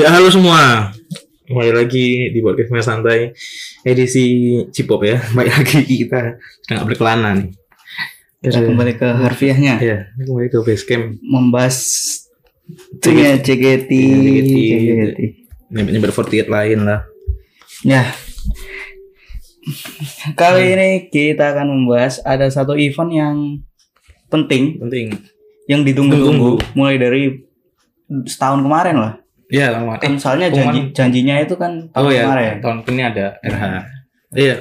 Ya halo semua Kembali lagi di podcast Maya Santai Edisi Cipop ya Baik lagi kita sedang update kelana nih Kita Eh, kembali ke harfiahnya Ya kembali ke basecamp Membahas Iya, Itunya CGT Iya, CGT. CGT. Nyampe-nyampe 48 lain lah Ya Iya. Kali ini kita akan membahas Ada satu event yang Penting Penting Yang ditunggu-tunggu Mulai dari Setahun kemarin lah Ya lama Kan soalnya janji, janjinya itu kan tahun Oh ya kemarin tahun ini ada RH Iya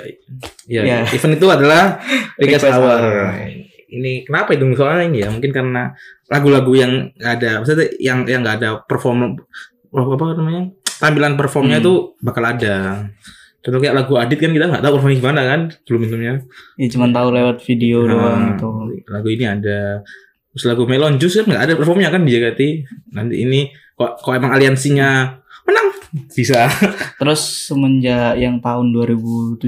Iya Iya. event itu adalah Request Request Hour Nah, Hour. ini kenapa itu soalnya ini ya mungkin karena lagu-lagu yang nggak ada maksudnya yang yang nggak ada perform apa namanya tampilan performnya Hmm. itu bakal ada contoh kayak lagu Adit kan kita nggak tahu performnya gimana kan belum minumnya Ya cuma tahu lewat video Nah, doang itu lagu ini ada terus lagu Melon Juice kan nggak ada performnya kan di JKT nanti ini kok kok emang aliansinya menang bisa Terus semenjak yang tahun 2017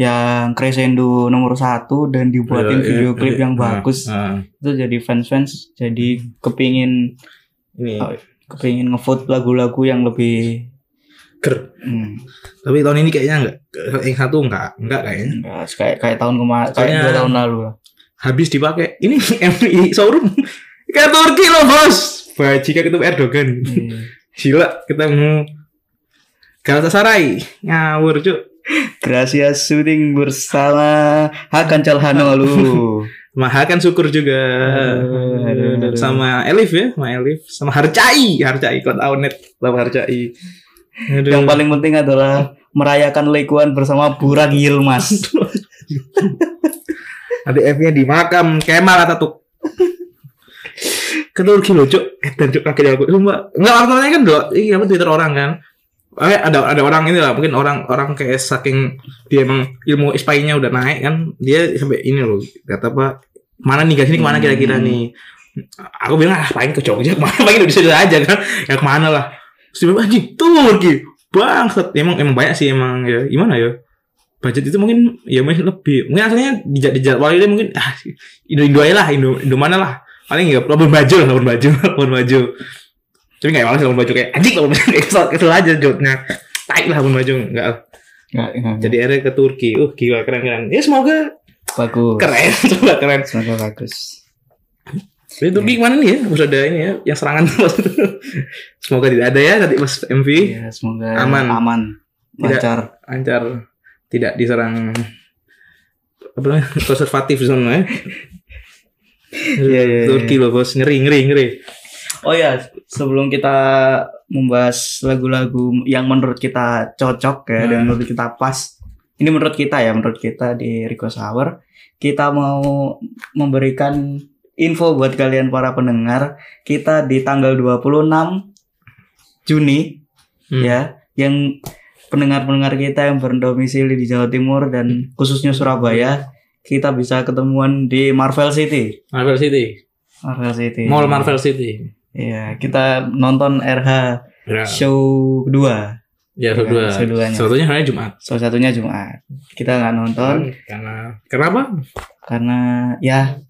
Yang Crescendo nomor satu Dan Eh, dibuatin video eh, klip eh, yang eh, bagus eh, itu jadi fans fans jadi Hmm. kepingin ini Oh. kepingin ngevote lagu-lagu yang lebih ker hmm, tapi tahun ini kayaknya nggak yang satu nggak nggak kayaknya ya, kayak kayak tahun kemarin kayak Soalnya- dua tahun lalu lah habis dipakai ini MI showroom ke Turki loh bos bajika ketemu Erdogan Iya. gila ketemu Galatasaray ngawur cuk Gracias syuting bersama Hakan Calhanoglu Maha kan syukur juga Aduh, aduh, aduh. sama Elif ya sama Elif sama Harcai Harcai kau tahu net sama Harcai Aduh. yang paling penting adalah merayakan lekuan bersama Burak Yilmaz nanti F nya di makam Kemal atau tuh Kan Ketur kilo cuk Eh, dan cuk kaget aku Sumpah Enggak orang-orangnya kan dok Ini apa Twitter orang kan Eh, ada ada orang ini lah mungkin orang orang kayak saking dia emang ilmu spy-nya udah naik kan dia sampai ini loh kata apa mana nih guys ini kemana Hmm. kira-kira nih aku bilang ah paling ke Jogja kemana paling Indonesia aja kan ya kemana lah terus dia bilang anjing Turki bangsat emang emang banyak sih emang ya gimana ya budget itu mungkin ya mungkin lebih mungkin asalnya dijad dijadwal ini mungkin ah, Indo Indo aja lah Indo Indo mana lah paling ya labun baju lah labun baju labun baju tapi nggak malas labun baju kayak anjing labun baju kayak kesel kesel aja joknya taik lah labun baju nggak Nggak, nggak, jadi akhirnya ke Turki uh gila keren keren ya semoga bagus keren semoga keren semoga bagus jadi Turki kemana nih ya harus ada ini ya yang serangan semoga tidak ada ya tadi pas MV Iya, semoga Aman. aman aman Tidak- lancar lancar tidak diserang apa namanya konservatif zona ya Iya, iya, iya. Turki loh bos ngeri ngeri ngeri Oh ya, sebelum kita membahas lagu-lagu yang menurut kita cocok ya dan Hmm. menurut kita pas. Ini menurut kita ya, menurut kita di Request Hour, kita mau memberikan info buat kalian para pendengar. Kita di tanggal 26 Juni Hmm. ya, yang pendengar-pendengar kita yang berdomisili di Jawa Timur dan khususnya Surabaya, kita bisa ketemuan di Marvel City. Marvel City Marvel City. Mall Marvel City Iya, kita nonton RH ya show kedua. ya Iya, kedua keduanya. satunya hari Jumat Salah satunya Jumat. Kita nggak nonton karena kenapa karena ya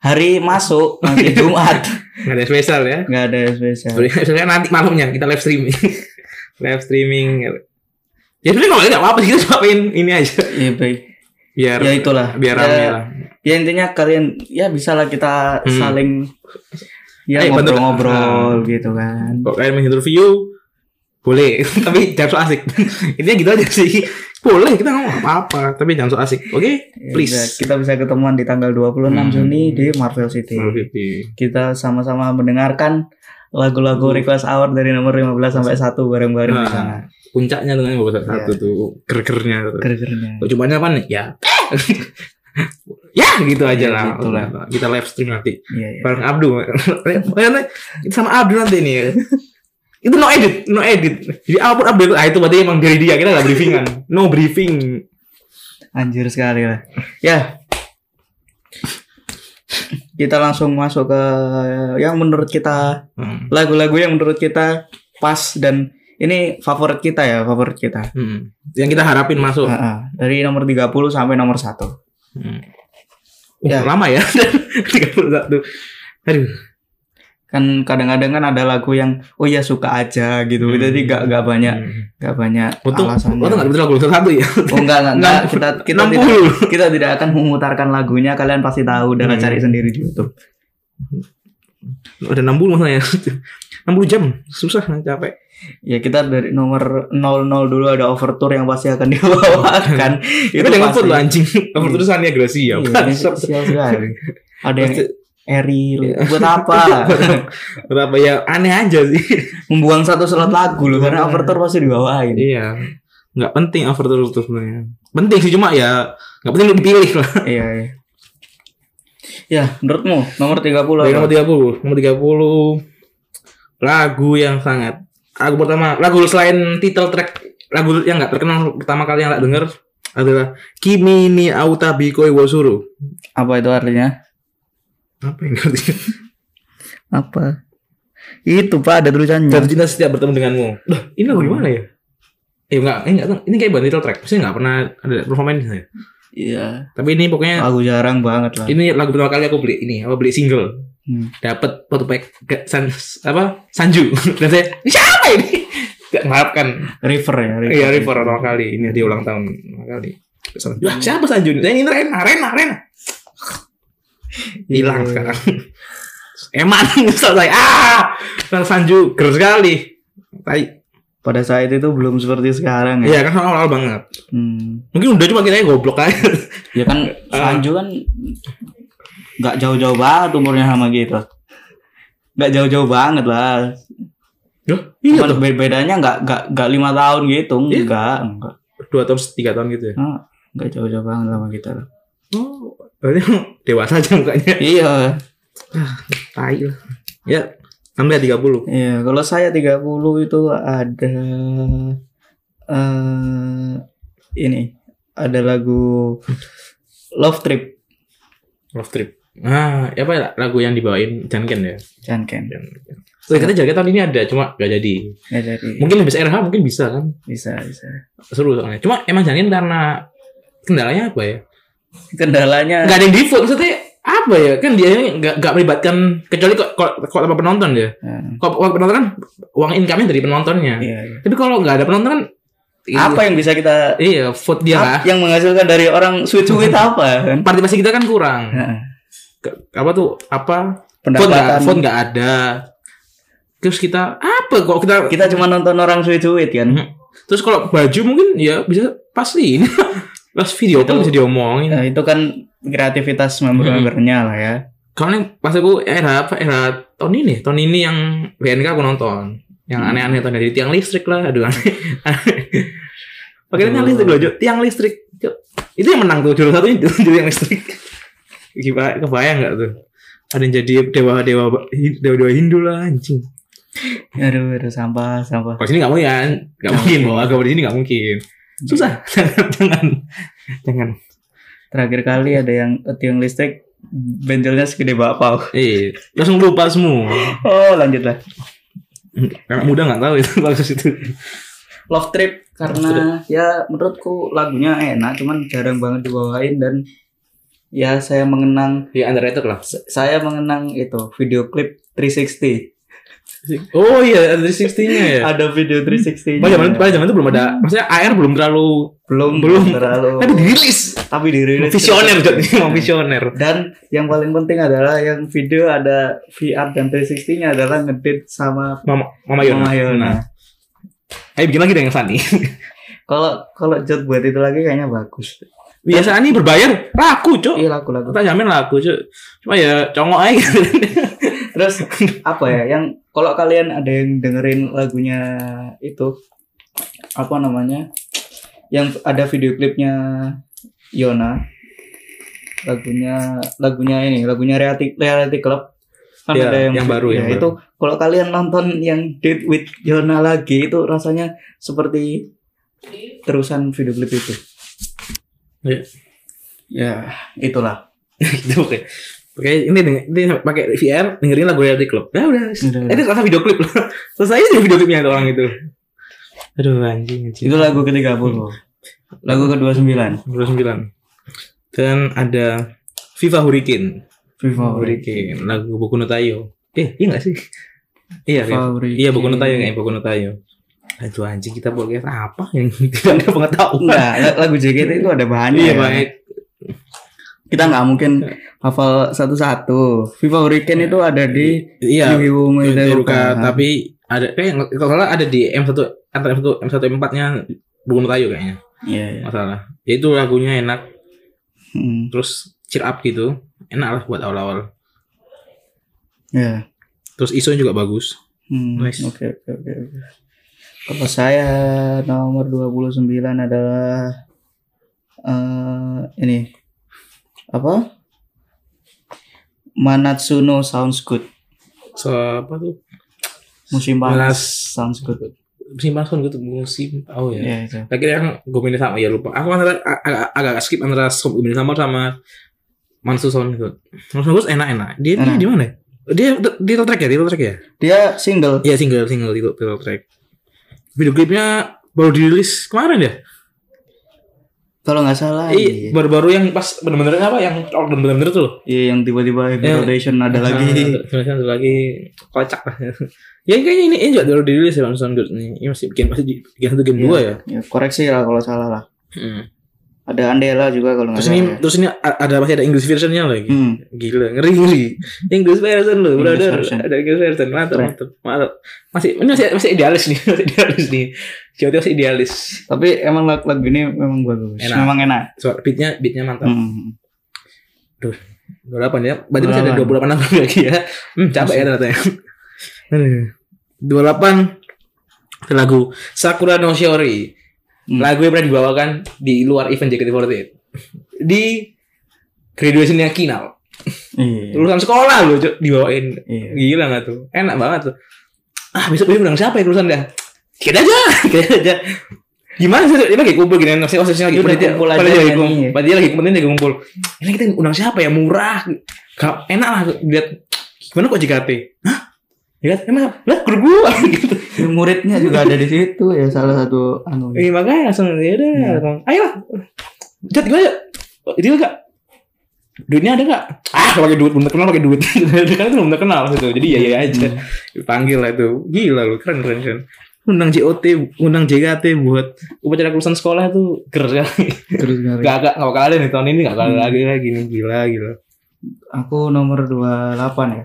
hari masuk nanti Jumat nggak ada spesial ya nggak ada spesial. sebenarnya nanti malamnya kita live streaming live streaming ya sebenarnya kalau nggak apa-apa sih, kita cuma pengen ini aja Iya, baik. biar Ya itulah. biar Ya, rame lah Ya intinya kalian ya bisalah kita Hmm. saling ya Eh, bentuk- ngobrol-ngobrol gitu kan. kalau kalian mau interview boleh tapi jangan so asik intinya gitu aja sih boleh kita ngomong apa-apa tapi jangan so asik oke Ya, please udah, kita bisa ketemuan di tanggal 26 Hmm. Juni di Marvel City. Marvel City. Kita sama-sama mendengarkan lagu-lagu request hour dari nomor 15 sampai 1 bareng-bareng di Hmm. Nah. sana. puncaknya dengan bapak satu tuh gergernya tuh. Gergernya. Cuma apa nih? Ya. ya gitu aja Ya, lah. gitu lah. Kita live stream nanti Iya, iya. bareng Abdu. Karena kita sama Abdu nanti nih. itu no edit, no edit. Jadi apapun update ah itu berarti emang dari dia kita nggak briefingan. No briefing. Anjir sekali lah. Ya. Kita langsung masuk ke yang menurut kita Hmm. lagu-lagu yang menurut kita pas dan ini favorit kita ya, favorit kita. Hmm. Yang kita harapin masuk. Heeh. Dari nomor 30 sampai nomor 1. Hmm. Uh, Ya. lama ya 31 Aduh kan kadang-kadang kan ada lagu yang oh ya suka aja gitu Hmm. jadi gak gak banyak gak banyak Untung, alasannya untung nggak betul lagu satu ya. oh enggak enggak, enggak. kita kita tidak 60. kita tidak akan memutarkan lagunya kalian pasti tahu dan Hmm. cari sendiri di YouTube Udah 60 masalahnya. 60 jam susah nah, capek. ya kita dari nomor 00 dulu ada overture yang pasti akan dibawakan Itu itu dengan pasti food lo anjing. Nomor tulisannya Gracia. Iya, ini bangsat. spesial sekali ada yang Pasti- Iya. Eril buat apa Berapa ya aneh aja sih. membuang satu slot lagu loh karena Bener. overture pasti dibawain iya. Nggak penting overture tuh sebenarnya. Penting sih cuma ya nggak penting lu dipilih lah. iya iya ya menurutmu nomor 30 Dari apa? Iya, nomor 30, nomor 30 lagu yang sangat lagu pertama lagu selain title track lagu yang nggak terkenal pertama kali yang nggak denger adalah Kimi ni Auta Bikoi Wosuru. apa itu artinya Apa yang ngerti? apa itu pak ada Jatuh tulisannya cinta setiap bertemu denganmu. Loh, ini lagu gimana ya? Eh enggak, ini enggak, tahu. ini kayak bukan title track. Maksudnya enggak pernah ada performance ya. iya Tapi ini pokoknya aku jarang banget lah ini lagu pertama kali aku beli ini, apa beli single. Hmm. Dapat foto pack ke- san, apa? Sanju. Dan saya, "Ini siapa ini? Enggak mengharapkan. river ya river, Iya River pertama kali ini dia ulang tahun pertama kali. Terus, Wah, siapa Sanjun? Saya ini ah, Rena, Rena, Rena. Hilang Iya. sekarang. Eman nyesel saya. Ah, Sang Sanju ger sekali. Tai. pada saat itu belum seperti sekarang ya Iya kan awal-awal banget. Hmm. Mungkin udah cuma kita goblok aja. ya kan Ah. Sanju kan nggak jauh-jauh banget umurnya sama gitu nggak jauh-jauh banget lah Duh, iya Cuman tuh. be- bedanya nggak nggak nggak lima tahun gitu Iya. nggak nggak Dua tahun, tiga tahun gitu ya. Ah, nggak jauh-jauh banget sama kita lah Oh, berarti emang dewasa aja mukanya. iya Tai lah. Ya, sampai 30. Iya, kalau saya 30 itu ada eh ini ada lagu Love Trip Love Trip. Ah, apa ya, lagu yang dibawain Janken ya? Janken. Janken. So, kita Janken tahun ini ada, cuma gak jadi. Ya jadi Mungkin habis RH mungkin bisa kan. bisa bisa. seru soalnya. Cuma emang jangin karena kendalanya apa ya? Kendalanya Gak ada yang di vote maksudnya apa ya? Kan dia nggak nggak melibatkan kecuali kok kok kok tanpa penonton ya. Eh, Kalau uang penonton kan uang income-nya dari penontonnya. iya, iya. Tapi kalau nggak ada penonton kan Apa yang bisa kita Iya, vote dia lah. ap- yang menghasilkan dari orang sweet-sweet apa kan? Partisipasi kita kan kurang. Heeh. Ke- apa tuh? Apa? Vote nggak Ya. Pendapatan vote nggak ada. Terus kita apa kok kita kita cuma nonton orang sweet-sweet kan. Terus kalau baju mungkin ya bisa pasti ini. Terus video Itu- pun bisa diomongin. Nah, itu kan kreativitas member-membernya lah ya. Karena pas aku era apa era tahun ini, tahun ini yang BNK aku nonton. Yang Hmm. aneh-aneh tuh dari tiang listrik lah, aduh aneh. Pakai tiang Aduh. listrik loh, Jo. tiang listrik. Jo. Itu yang menang tuh juara satu itu tiang listrik. Gimana kebayang nggak tuh? Ada yang jadi dewa-dewa dewa-dewa Hindu lah anjing. Aduh, aduh sampah, sampah. Kalau sini nggak mungkin, kan? nggak mungkin bawa agama di sini nggak mungkin. Susah, jangan jangan jangan. Terakhir kali ada yang tiang listrik benjelnya segede bakpao. Eh, langsung lupa semua. Oh lanjutlah Anak muda nggak tahu itu bagus itu. Love Trip karena ya menurutku lagunya enak cuman jarang banget dibawain dan ya saya mengenang Ya underrated lah. saya mengenang itu video klip 360 Oh iya, ada 360-nya ya. ada video 360 Pada zaman, pada zaman itu belum ada, maksudnya AR belum terlalu belum belum. Hmm, belum terlalu kan dirilis. tapi dirilis Visioner, Jod. Emang visioner. dan yang paling penting adalah yang video ada VR dan 360 nya adalah ngedit sama Mama, Mama Yona. Mama Yona. Nah, ayo bikin lagi dengan Sani. kalau kalau Jod buat itu lagi kayaknya bagus Biasa ini berbayar, laku, Cok. iya lagu lagu Kita jamin laku, Cok. Cuma ya congok aja gitu. Terus apa ya yang kalau kalian ada yang dengerin lagunya itu apa namanya? Yang ada video klipnya Yona. Lagunya lagunya ini, lagunya Reality Reality Club. Kan Iya, ada yang, yang baru, ya, yang baru. itu kalau kalian nonton yang Date with Yona lagi itu rasanya seperti terusan video klip itu. Iya. Ya, itulah. Gitu, oke. Oke, ini, denger- ini pakai VR dengerin lagu Reality Club. Ya udah. Udah, Eh, udah. Itu rasa video klip lah. Selesai aja video klipnya itu orang itu. Aduh anjing, anjing. Itu lagu ke-30. Hmm. Lagu ke-29. 29. Dan ada FIFA Hurricane. Viva Hurricane, lagu Boku no Tayo. Eh, iya gak sih? Iya, iya. Fabriki. Iya, Boku no Tayo kayak Boku no Tayo. Aduh anjing kita podcast apa yang tidak ada pengetahuan. Enggak, la- lagu JKT itu ada bahannya. Iya, ya. baik. Kita nggak mungkin hafal satu-satu. Viva Hurricane itu ada di Iya, Ruka, Yuhiwo Meteruka. tapi ada kayak nggak- kalau nggak salah ada di M1 antara M1 M1 M4-nya Boku no Tayo kayaknya. Iya, iya. Masalah. Ya itu lagunya enak, Hmm, terus cheer up gitu. Enak lah buat awal-awal. iya. Terus ISO juga bagus. Hmm, Nice. Oke, oke, oke. oke. Kalau saya nomor 29 adalah eh ini apa? Manatsuno Sounds Good. So, apa tuh? Musim panas Panas. Sounds Good. Musim panas kan gitu, musim. Oh ya. Iya, itu. Lagi yang Gomini sama ya lupa. Aku antara ag- agak agak skip antara Sob Gomini sama sama Mansu Son gitu. Mansu Gus enak-enak. Dia dia Enak. di mana? Dia di title track ya, title track ya? Dia single. Iya, single single title, title track. Video klipnya baru dirilis kemarin ya? Kalau nggak salah. Iya, Iya, baru-baru yang pas bener-bener apa yang oh, bener-bener tuh loh. Iya, yang tiba-tiba Heavy Iya. Rotation ada lagi. Tulisan satu lagi kocak lah. ya kayaknya ini, ini juga baru dirilis ya Mansu Son Good nih. Ini masih bikin masih bikin satu game Iya. dua ya. Ya, koreksi lah kalau salah lah. Hmm. Ada Andela juga kalau nggak Terus salah. ini ya. terus ini a- ada masih ada English versionnya lagi. Hmm. Gila, ngeri ngeri. English version loh, English brother. version. Ada English version, mantap, Keren. mantap, mantap. Masih, ini masih, masih idealis nih, masih idealis nih. Jauh masih idealis. Tapi emang lag- lagu ini memang bagus. Enak. Memang enak. Soal beatnya, beatnya mantap. Hmm. Dua delapan ya, berarti masih ada dua 28. puluh delapan lagi ya. Hmm, capek ya ternyata. ya. Aduh. Dua delapan ada lagu Sakura no Shiori. Hmm. Lagu yang pernah dibawakan di luar event JKT48 di graduation yang kinal Iya. lulusan sekolah loh Cuk, dibawain Iya. Gila gak tuh? Enak banget tuh. Ah, besok besok undang siapa ya tulisan dah? Kita aja, kita aja. Gimana sih? Dia lagi kumpul gini, nasi osisnya lagi Udah panitia- kumpul aja kan, iya. panitia lagi nyanyi. kumpul. Panitia lagi kumpul, lagi kumpul. Ini kita undang siapa ya? Murah. Gak enak lah lihat gimana kok JKT? Hah? Ya, emang lah guru gua gitu. Ya, muridnya juga ada di situ ya salah satu anu. Ini makanya langsung ya udah, langsung, ayolah. Jat gimana? Jat? Dia enggak duitnya ada nggak? Ah, pakai duit belum terkenal pakai duit. kan itu belum terkenal gitu. Jadi ya ya aja. Dipanggil lah itu. Gila lu, keren keren keren. Undang JOT, undang JKT buat upacara kelulusan sekolah tuh keren sekali. Terus ngeri. Gak gak gak bakal ada nih tahun ini gak bakal ada lagi lagi nih gila gila. Aku nomor 28 ya.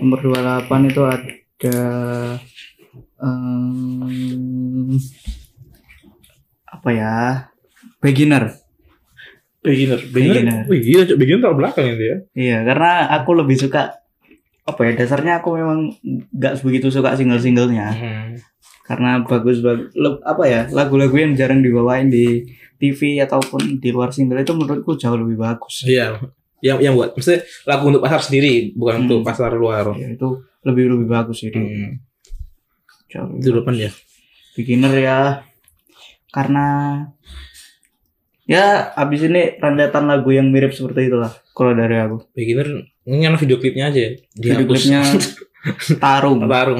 Nomor 28 itu ada em, eh, apa ya? Beginner. Beginner, Beginner. Wih, gila, Cok. beginner terlalu belakang itu ya. Iya, karena aku lebih suka apa ya? Dasarnya aku memang nggak begitu suka single-singlenya Hmm. karena bagus bagus apa ya lagu-lagu yang jarang dibawain di TV ataupun di luar single itu menurutku jauh lebih bagus. Iya. Yang yang buat maksudnya lagu untuk pasar sendiri, bukan untuk Hmm. pasar luar. ya, itu lebih lebih bagus itu Hmm. Jauh Itu lebih depan ya. beginner ya karena ya abis ini rentetan lagu yang mirip seperti itulah kalau dari aku beginner ini kan video klipnya aja ya? Video Dihapus. klipnya tarung tarung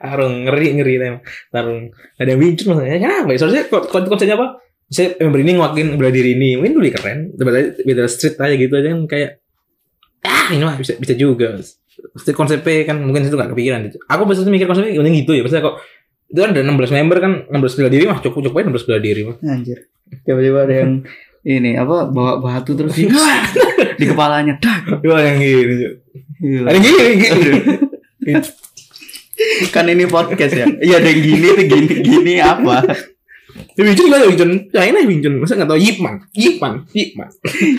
tarung ngeri ngeri tem tarung ada yang bincun maksudnya kenapa ya seharusnya kon- kon- konsepnya apa saya member ini ngelakuin bela diri ini mungkin dulu keren beda beda street aja gitu aja kan kayak ah ini mah bisa bisa juga Maksudnya konsepnya kan mungkin itu gak kepikiran gitu. Aku biasanya mikir konsepnya mending gitu ya. Maksudnya kok itu kan ada 16 member kan 16 bela diri mah cukup cukup aja 16 bela diri mah. anjir tiba-tiba ada yang ini apa bawa batu terus di, di kepalanya Dak! Cuma yang gini. Cuk. Gila. Ada yang gini, gini. kan ini podcast ya iya ada yang gini ada yang gini gini apa Tapi Wincun gimana Wincun? Nah ini Wincun, masa gak tau Yipman? Yipman, Yipman.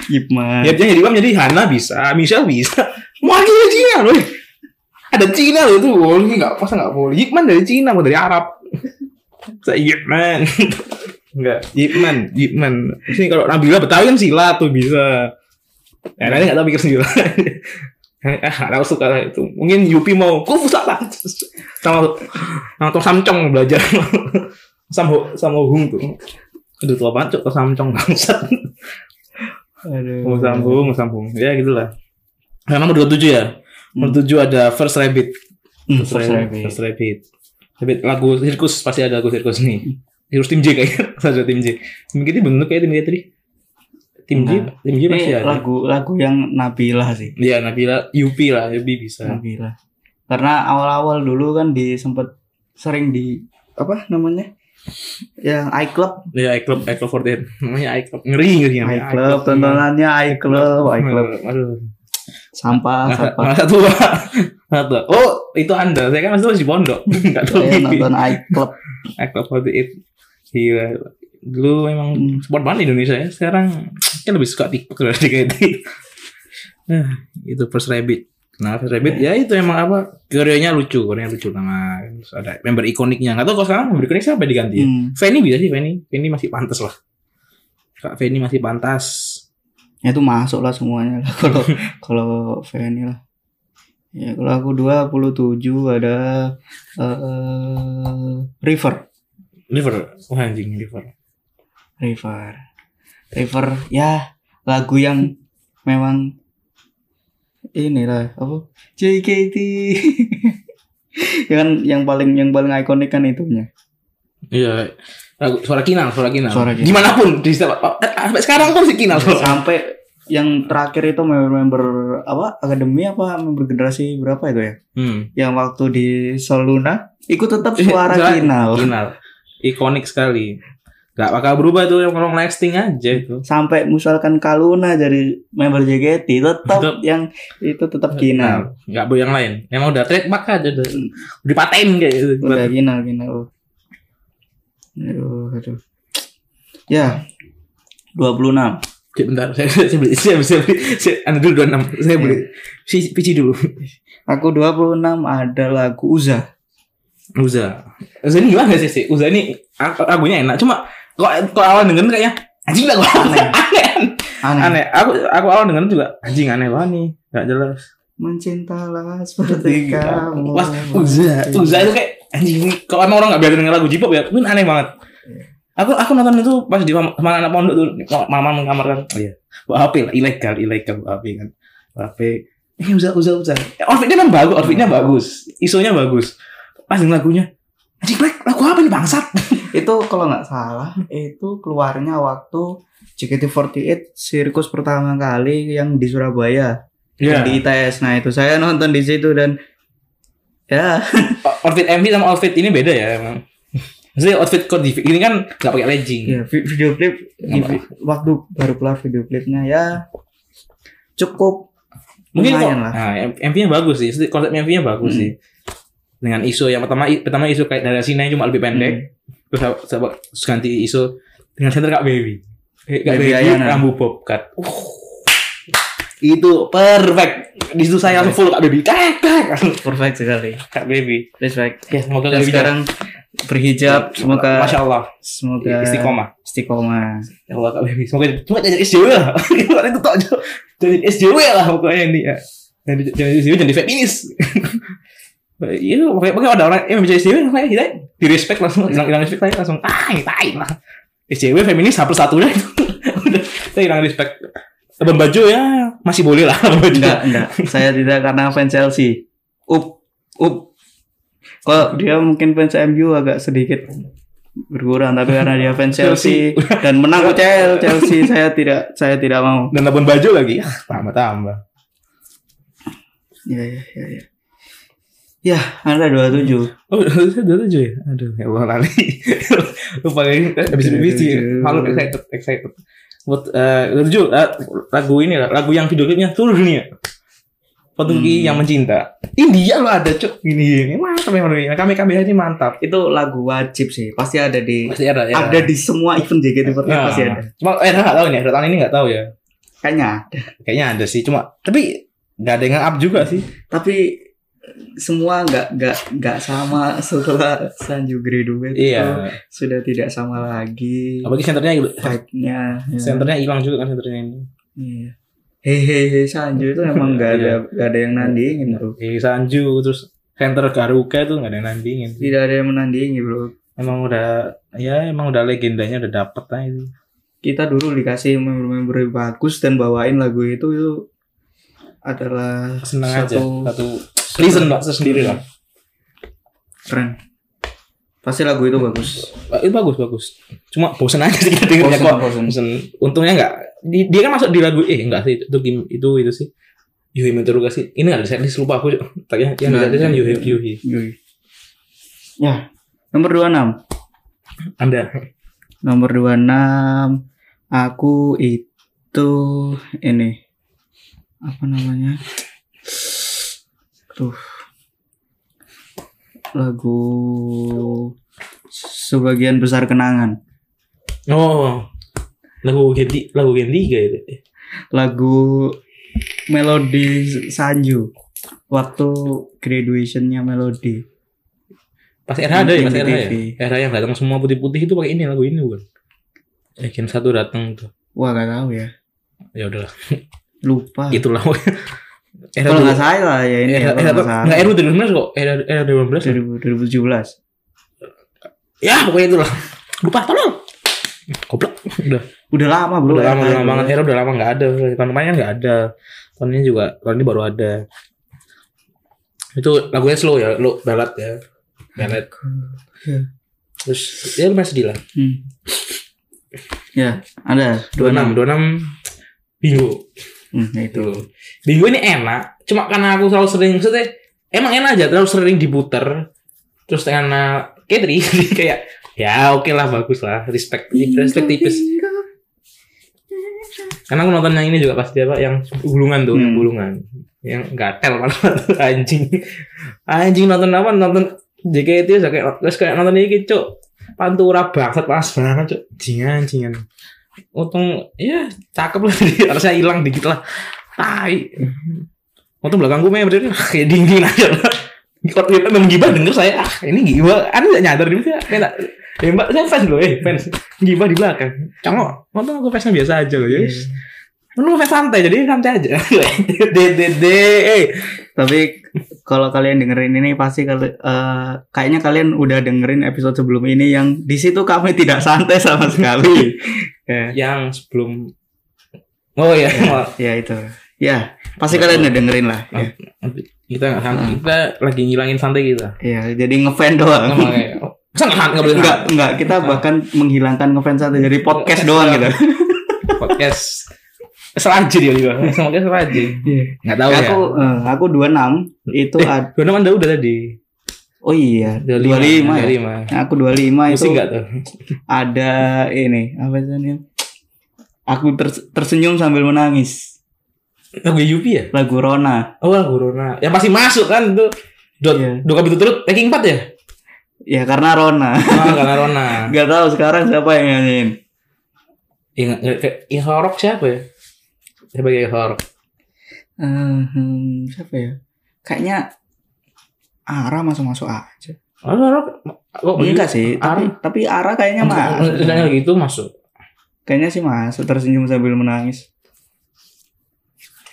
gimana Ya dia jadi Wam jadi Hana bisa, Michelle bisa. Wakilnya Cina loh. Ada Cina loh itu boleh nggak? Masa nggak boleh? Yipman dari Cina, bukan dari Arab. Saya Yipman. Enggak, Yipman, Yipman. Sini kalau Nabila Betawi kan sila tuh bisa. Ya, nanti nggak tahu pikir sendiri. ah, aku suka lah itu. Mungkin Yupi mau kufu sama sama sama Tong Samcong belajar. sama sama Hung tuh. Aduh tua banget Cok, Tong Samcong bangsat. Aduh. Mau sambung, mau sambung. Ya gitulah. Nah, nomor 27 ya. Nomor 7 ada First Rabbit. Hmm, First, Rabbit. First Rabbit. Rabbit lagu sirkus pasti ada lagu sirkus nih. Sirkus tim J kayaknya. Saja tim J. Mungkin ini bentuk kayak tim J tadi. tim J Nah. tim J pasti Ini ada lagu lagu yang Nabila sih. Iya Nabila Yupi lah Yupi bisa Nabila. Karena awal-awal dulu kan di sempet sering di apa namanya? Yang iClub, ya iClub iClub 48 namanya iClub ngeri ngeri namanya Ya, iClub tontonannya iClub, iClub Aduh. sampah sampah. Masa tua. Masa tua. Oh, itu Anda. Saya kan masih tua di pondok. Enggak tahu Saya TV. nonton iClub. Act of 48. Gila. Dulu memang Hmm. support banget Indonesia ya. Sekarang kan lebih suka TikTok dari DKT. Nah, itu First Rabbit. Nah, First Rabbit ya itu emang apa? Koreonya lucu, koreonya lucu sama terus ada member ikoniknya. Enggak tahu kalau sekarang member ikonik siapa diganti ya? Hmm. Feni bisa sih Feni. Feni masih pantas lah. Kak Feni masih pantas. Ya itu masuk lah semuanya lah kalau kalau Fanny lah. Ya kalau aku 27 ada eh, River. Liver, wah anjing liver. River. River ya lagu yang memang inilah apa JKT yang yang paling yang paling ikonik kan itunya Iya. Lagu suara kinal, suara kinal. Suara Kinal. Iya. Dimanapun di setiap eh, sampai sekarang pun si kinal. sampai yang terakhir itu member-member apa akademi apa member generasi berapa itu ya Hmm. yang waktu di Soluna ikut tetap Iya, suara kinal Kinal. Ikonik sekali. Gak bakal berubah tuh yang kalau lasting aja itu. sampai misalkan Kaluna jadi member JKT tetap Tetap. yang itu tetap kinal Gak Nah, boleh yang lain. Emang udah trademark aja udah. Udah dipaten kayak gitu. udah final final aduh aduh ya 26 Cek, bentar. Saya, saya beli saya beli saya beli saya anda dulu 26. Saya beli PC, PC dulu. aku 26 ada lagu Uza Uza. Uza ini gimana sih sih? Uza ini ag- lagunya enak. Cuma kalau kalau awal dengerin kayaknya anjing lagu aneh. aneh. aneh, aneh aku aku awal dengerin juga anjing aneh banget nih nggak jelas mencintalah seperti Iya. kamu Wah, Uza Uza itu kayak anjing ini kalau emang orang nggak biasa denger lagu J-pop ya mungkin aneh banget aku aku nonton itu pas di mam- sama anak pondok tuh mama mengkamarkan oh iya bawa HP lah ilegal ilegal bawa HP kan bawa HP eh Uza Uza Uza Eh, outfitnya memang bagus outfitnya bagus isonya bagus pas denger lagunya anjing Black lagu apa ini bangsat itu kalau nggak salah itu keluarnya waktu JKT48 sirkus pertama kali yang di Surabaya yang di ITS nah itu saya nonton di situ dan ya outfit MV sama outfit ini beda ya emang Maksudnya outfit kok ini kan nggak pakai legging Ya, vi- video klip Apa? di- waktu baru keluar video klipnya ya cukup Mungkin kok, lumayan lah. Nah, MV-nya bagus sih. Konsep MV-nya bagus Hmm. sih. Dengan ISO yang pertama pertama ISO kayak dari sini cuma lebih pendek. Hmm. Terus apa- apa- terus ganti ISO dengan center Kak Baby. Eh, Kak Baby, Baby Ayana. rambu bobcat. Uh, itu perfect. Di situ saya langsung full Kak Baby. Kak, kak. Langsung perfect sekali. Kak Baby. Respect. Ya, semoga Kak Dan Baby sekarang berhijab semoga Masya Allah. semoga Istiqomah. istiqomah. Ya Allah Kak Baby. Semoga cuma jadi SJW lah. Gimana itu tok Jo. Jadi SJW lah pokoknya ini ya. Jadi jadi SJW jadi feminis. Iya, pokoknya, pokoknya ada orang yang menjadi SJW, makanya kita di respect langsung, hilang hilang respect saya langsung tai tai lah. SJW feminis satu satunya itu udah kita hilang respect. Abang baju ya masih boleh lah abang baju. Enggak, enggak. Saya tidak karena fans Chelsea. Up, up. Kalau dia mungkin fans MU agak sedikit berkurang tapi karena dia fans Chelsea dan menang Chelsea, Chelsea saya tidak saya tidak mau. Dan abang baju lagi, ah, tambah tambah. Ya, ya, ya, ya. Ya, Anda 27. Oh, saya dua tujuh ya? Aduh, ya Allah lali. Lupa ini, habis Dua ini sih. tujuh. Malu excited, excited. Buat eh dua tujuh, eh, lagu ini lah, lagu yang video klipnya seluruh dunia. Petugi Hmm. yang mencinta. India lo ada cuk, ini ini mantap memang ini. Kami kami ini mantap. itu lagu wajib sih pasti ada di Pasti ada ya. ada di semua event JKT48 Ya. pasti ada Cuma era nggak tahu nih, era tahun ini nggak tahu ya. kayaknya ada. Kayaknya ada sih, cuma tapi nggak ada yang up juga sih. tapi semua nggak nggak nggak sama setelah Sanju Graduate itu Iya. sudah tidak sama lagi Apalagi senternya, vibe-nya ya. senternya hilang juga kan senternya ini. Iya. hehehe Sanju itu Iya. emang nggak ada nggak ada yang nandingin bro Di Iya, Sanju terus center Garuka itu nggak ada yang nandingin. sih. tidak ada yang menandingi bro emang udah ya emang udah legendanya udah dapet lah itu kita dulu dikasih member-member bagus dan bawain lagu itu itu adalah seneng aja satu satu reason lah sendiri lah keren Pasti lagu itu bagus. Eh, Itu bagus bagus. Cuma bosen aja sih kita dengernya Bosen, Iya, kok. bosen. Bosen. Untungnya enggak di- dia kan masuk di lagu eh enggak sih itu itu game- itu, itu sih. Yuhi Meteoruga sih. Ini enggak ada setlist lupa aku. Tadi yang ada Nggak setlist kan ada. Yuhi Yuhi. Yui. Ya, nomor 26. Anda Nomor 26 aku itu ini apa namanya? Tuh. Lagu sebagian besar kenangan. Oh. Lagu Gendi, lagu Gendi gak itu? lagu melodi Sanju waktu graduationnya melodi Pas era ada ya, pas Yang di era ya. TV. Era yang datang semua putih-putih itu pakai ini lagu ini bukan? Eh, Gen satu datang tuh. wah gak tahu ya Ya udahlah, lupa itulah. era Iya, Ah. kalau dulu- nggak salah ya ini era ya, era kalau nggak salah nggak era 2015 kok. Era era ya. 2015. 2000 2017 Ya, pokoknya itulah. Lupa tolong. Goblok. Udah. udah lama bro udah lama, ya, Era udah lama banget. Hero udah lama nggak ada. Tahun kemarin kan nggak ada. Tahun ini juga, tahun ini baru ada. Itu lagunya slow ya, lo balad ya, balad. Ya. Terus ya lumayan sedih lah. Hmm. ya ada 26, 26 26 Bingo. hmm, ya itu Itu. Bingo Gitu. ini enak. Cuma karena aku selalu sering, maksudnya emang enak aja terlalu sering diputer. Terus karena Kedri jadi kayak ya oke lah bagus lah respect Iya, respect tipis Karena aku nonton yang ini juga pas dia apa yang gulungan tuh, Hmm. yang gulungan. Yang gatel malah anjing. Anjing nonton apa? Nonton JKT terus kayak terus kayak nonton ini cuk. Pantura bangsat pas banget cuk. Jingan jingan. Untung ya cakep lah harusnya hilang dikit lah. Tai. Untung belakang gue berarti Ah, kayak dingin aja lah. Kalau kita memang gibah denger saya, ah ini gibah. Anda nggak nyadar juga, kayak tak. Eh mbak, saya fans loh, eh fans. Gibah di belakang. Cangok, untung aku fansnya biasa aja loh, ya. Lu fans santai, jadi santai aja. Dede, eh. tapi kalau kalian dengerin ini pasti kali- eh, kayaknya kalian udah dengerin episode sebelum ini yang di situ kami tidak santai sama sekali ya Yang sebelum, oh ya, ya itu ya pasti kalian udah dengerin lah ya, kita nggak santai, kita lagi ngilangin santai kita. ya jadi ngefan doang Nggak boleh. Masa nggak santai? Nggak boleh enggak santai? enggak kita bahkan menghilangkan ngefans satu jadi podcast doang gitu Podcast serajin ya juga, podcast serajin. Nggak tahu ya. aku eh, aku 26 itu Eh, ad- Gue anda udah tadi. oh iya 25 25, ya 25. Nah, aku 25 itu Pusing nggak tuh? ada ini apa sih namanya? aku ters- tersenyum sambil menangis Lagu Yupi ya? lagu Rona Oh lagu Rona. Yang pasti masuk kan itu. Dua, Iya. dua kali turut ranking 4 ya? ya karena Rona Ah, karena Rona. Gak tahu sekarang siapa yang nyanyiin. Ya, nggak- nggak- kayak- ya, Horok siapa ya? Siapa kayak Horok? Eh, hmm, siapa ya? Kayaknya Ara masuk-masuk aja. Oh, Horok. Kok Enggak Oh, sih, tapi, iya. Ara- tapi Ara kayaknya masuk. Misalnya lagi itu masuk. Kayaknya sih masuk tersenyum sambil menangis.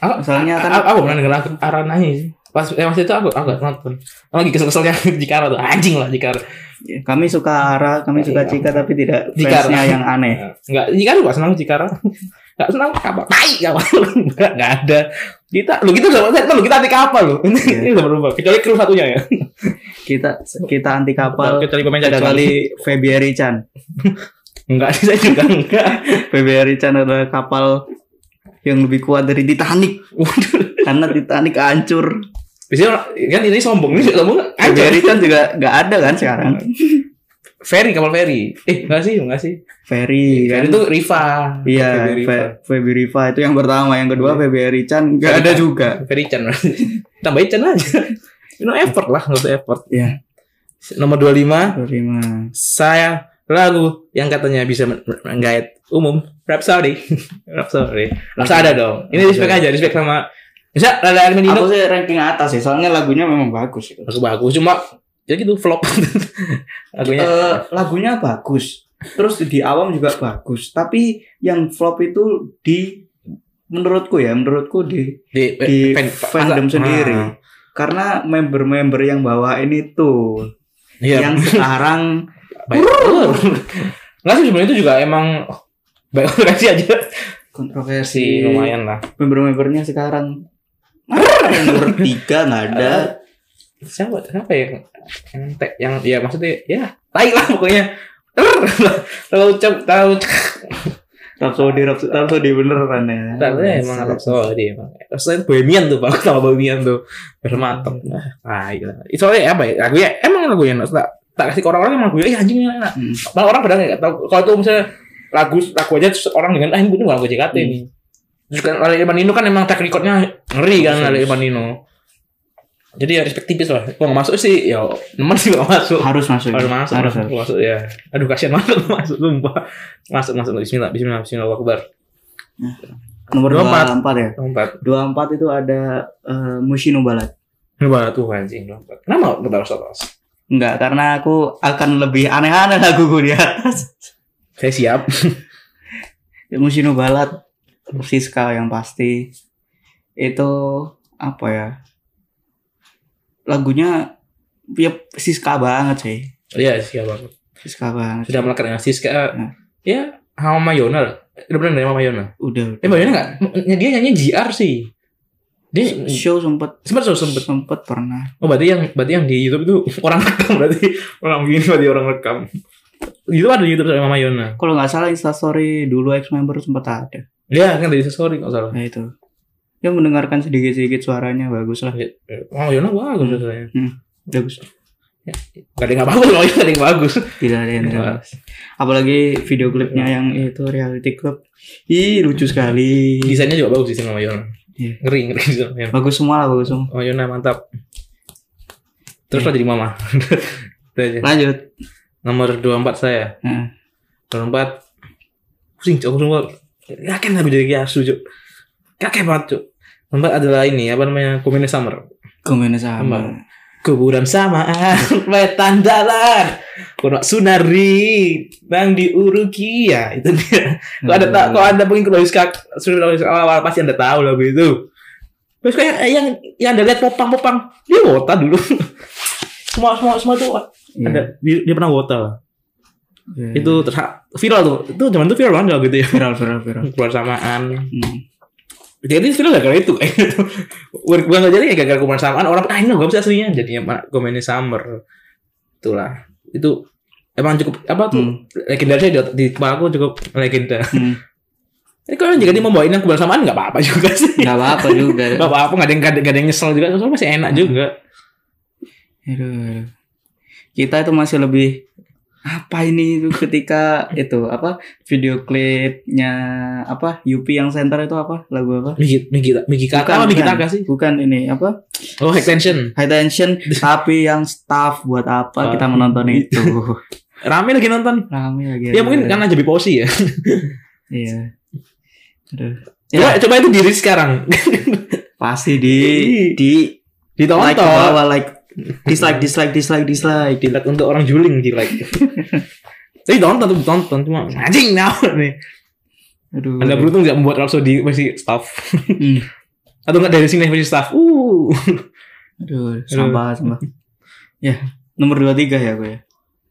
Aku, Soalnya kan- aku, aku pernah denger aku- Ara nangis. Pas eh, waktu itu aku aku nggak nonton. Aku lagi kesel-keselnya Jikara tuh. Anjing lah Jikara. Ya, Kami suka Ara, kami Iya. suka Cika tapi tidak Cika. fansnya yang aneh. Enggak, Jikara gak senang Jikara. Gak senang kapal. Tai kapal. Enggak, enggak ada. Kita lu kita udah kita lu kita anti kapal lu. Ini Iya. ini udah berubah. Kecuali kru satunya ya. Kita kita anti kapal Kecuali pemain kecuali kecuali Febiari Chan. enggak sih saya juga enggak. Febiari Chan adalah kapal yang lebih kuat dari Titanic Waduh. karena Titanic hancur. Biasanya orang- kan ini sombong ini sombong aja. Febiari Chan juga nggak ada kan sekarang. Ferry kapal Ferry. Eh, enggak sih, enggak sih. Ferry kan Ferry itu Riva. Iya, Ferry Riva. Fe- Feby Riva itu yang pertama, yang kedua February Chan Iya. nggak ada juga. Ferry Chan. Tambahin Chan aja. No effort lah, no effort. Iya, Nomor 25 terima. saya lagu yang katanya bisa men- menggait umum rap Saudi rap Saudi rap ada dong ini respect aja respect sama bisa ada Armin Dino Aku sih ranking atas sih, soalnya lagunya memang bagus. Gitu. aku bagus cuma ya gitu flop lagunya Eh, lagunya bagus, terus di awam juga bagus. Tapi yang flop itu di menurutku ya, menurutku di di, di fan- fandom masa- sendiri. Ah, Karena member-member yang bawa ini tuh, iya yang sekarang baik. nggak sih sebenarnya itu juga emang baik kasih aja kontroversi sih Iya, lumayan lah member-membernya sekarang nomor tiga nggak ada siapa siapa ya yang te- yang ya maksudnya ya tai lah pokoknya terlalu cep terlalu Rapsodi, Rapsodi, Rapsodi beneran ya. Ternyata eh, emang Arab Saudi emang. Arab Saudi bohemian tuh bang, sama bohemian tuh bermatok. Ah, iya. Itu soalnya apa ya? Lagu ya emang lagu yang tak tak kasih ke orang-orang emang lagu ya anjing enak. Hmm. Malah orang padahal nggak tahu. Kalau tuh misalnya lagu lagu aja terus orang dengan ah ini bukan lagu JKT ini. Hmm. Terus kan Lali Irfan Nino kan emang track recordnya ngeri kan Bagus. Lali Irfan Nino. Jadi ya respect tipis lah. Kalau nggak masuk sih ya nemen sih nggak masuk. Harus masuk. Harus masuk, Harus, harus, masuk, ya. Aduh kasihan banget masuk sumpah. Masuk masuk Bismillah Bismillah Bismillah Akbar. Nomor Dua 24. ya. Empat. 24 itu ada eh, Mushino Balat. Lompat tuh anjing lompat. Kenapa lompat harus atas? Enggak, karena aku akan lebih aneh-aneh lagu gue di atas. Saya siap. Mushino Balat, Siska yang pasti. Itu apa ya? Lagunya ya Siska banget sih. Iya siap banget. Siska banget. Sudah melekat dengan Siska. Hmm. Ya, sama Mayona. Udah bener dari Mama Yona. Udah. Eh Mayona nggak? Dia nyanyi GR sih. Dia Show sempet sempat so sempet. sempet pernah Oh berarti yang berarti yang di YouTube itu orang rekam berarti orang begini berarti orang rekam. Itu ada di YouTube dari Mama Yona. kalau nggak salah instastory dulu ex member sempat ada Dia kan dari sorry nggak salah. nah itu ya mendengarkan sedikit sedikit suaranya bagus lah Mama Yona Eh, bagus Hmm. rasanya. bagus Gak ada yang nggak bagus, Mama Yona ada yang bagus. tidak ada yang Iya. bagus apalagi video klipnya yang itu reality club ih lucu sekali Desainnya juga bagus sih Mama Yona. Iya. Ngeri ngeri sih Mama Yona. bagus semua lah bagus semua Oh Yuna mantap. Terus lah jadi mama. Itu aja. lanjut Nomor 24 saya. nah, Nomor 4. Pusing cok. Aku semua. Yakin aku jadi kiasu cok. Kakek banget cok. Nomor 4 adalah ini. Apa namanya? Kumene Summer. komen sama Kuburan samaan. Wetan dalan. Kono sunari. Nang diuruki. Ya itu dia. Kalau Nah, ada tak. Kalau ada pengikut Lois Kak. Sudah Lois "Oh, awal pasti anda tahu lagu itu. Terus kayak eh, yang yang anda lihat popang-popang. Dia wota dulu. semua semua semua tuh Iya. ada dia, dia pernah wota lah. Iya. itu terus viral tuh itu zaman itu viral banget gitu ya viral viral viral keluar samaan Hmm. jadi viral gara-gara itu gitu. bukan nggak jadi ya gara-gara keluar samaan orang ah ini nggak bisa aslinya jadinya mana- komennya summer itulah itu emang cukup apa tuh Hmm. legendarisnya di, di kepala aku cukup legenda Hmm. jadi kalau jika dia mau bawain yang keluar samaan nggak apa-apa juga sih nggak apa apa juga nggak apa-apa nggak ada yang nggak ada yang nyesel juga soalnya masih enak juga Aduh, aduh. Kita itu masih lebih apa ini itu ketika itu apa video klipnya apa Yupi yang center itu apa lagu apa? Migi Migi Migi Bukan, Kata apa Migi bukan. Taka sih Bukan ini apa oh extension High Tension tapi yang staff buat apa kita menonton itu rame lagi nonton rame lagi Ah. ya mungkin karena jadi posi ya iya Aduh. coba ya coba itu diri sekarang pasti di di like ke ditonton bawah like dislike dislike dislike dislike jilat untuk orang juling jilat tapi tonton tuh tonton cuma anjing now nih aduh anda beruntung nggak membuat Rhapsody versi staff Hmm. atau nggak dari sini versi staff uh aduh sampah sampah ya nomor 23 ya gue ya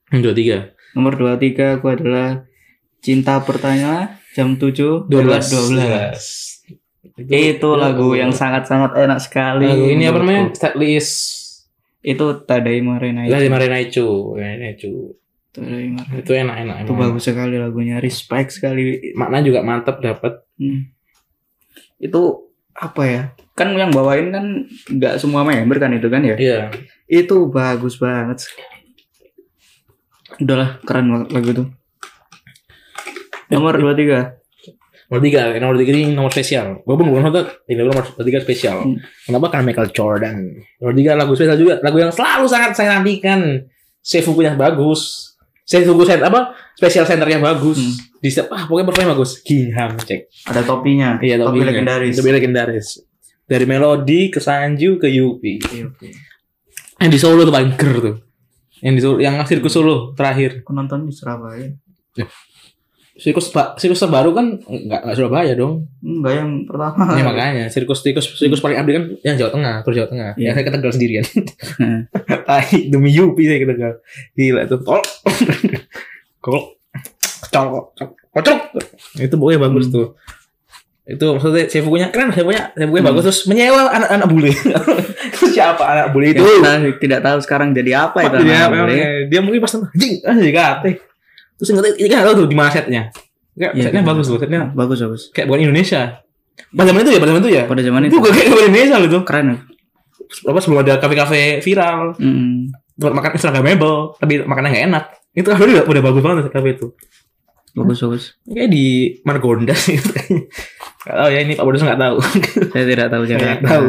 dua tiga Nomor 23 aku adalah Cinta Pertanyaan jam 7 dua belas 12. Itu lagu yang sangat-sangat enak sekali. lagu ini apa namanya menurutku. set list Itu Tadai Marena itu. dari Marenaichu Marenaichu Tadai Marena. itu enak enak Itu emang. bagus sekali lagunya, respect sekali. makna juga mantap dapat Hmm. Itu apa ya? Kan yang bawain kan nggak semua member kan itu kan ya? iya Itu bagus banget. Udahlah, keren banget lagu itu. Nomor 23. nomor tiga nomor tiga ini nomor spesial walaupun bukan hotel ini nomor tiga spesial Hmm. Kenapa? Karena Michael Jordan. Nomor tiga lagu spesial juga, lagu yang selalu sangat saya nantikan. Save bukunya bagus. Save buku center apa? Spesial centernya bagus. Hmm. Di setiap ah pokoknya performanya bagus. Giham cek. Ada topinya. Iya, topi topinya. legendaris. Topi legendaris. Dari melodi ke Sanju ke Yupi. Oke, oke. Yang di Solo tuh paling ger tuh. Yang di Solo, yang sirkus Solo terakhir. Aku nonton di Surabaya. Sirkus ba- sirkus terbaru kan enggak enggak Surabaya dong. Enggak yang pertama. Ya makanya sirkus sirkus sirkus paling abdi kan yang Jawa Tengah, terus Jawa Tengah. Yang Iya. saya ke Tegal sendirian. tai demi Yupi saya kata gak gila tuh tol kok kocok kocok itu pokoknya bagus Hmm. tuh itu maksudnya seifukunya keren seifukunya seifukunya bagus terus menyewa anak-anak bule Terus siapa anak bule itu Yang kita tidak tahu sekarang jadi Iya, apa itu dia, anak-anak memang, bule. eh, dia mungkin pas nonton, anjing anjing kate terus nggak tahu- ini kan nggak tahu tuh di mana setnya kayak Iya, setnya gitu. bagus loh setnya bagus bagus kayak bukan Indonesia pada zaman itu ya pada zaman itu ya pada zaman itu itu gak kayak bukan Indonesia loh itu keren ya apa sebelum ada kafe-kafe viral Mm. tempat makan instagramable tapi makannya nggak enak itu kafe udah, udah bagus banget kafe itu bagus bagus kayak di Margonda sih itu kayaknya Nggak tahu ya ini Pak Bodos nggak tahu saya tidak tahu nggak Jakarta tahu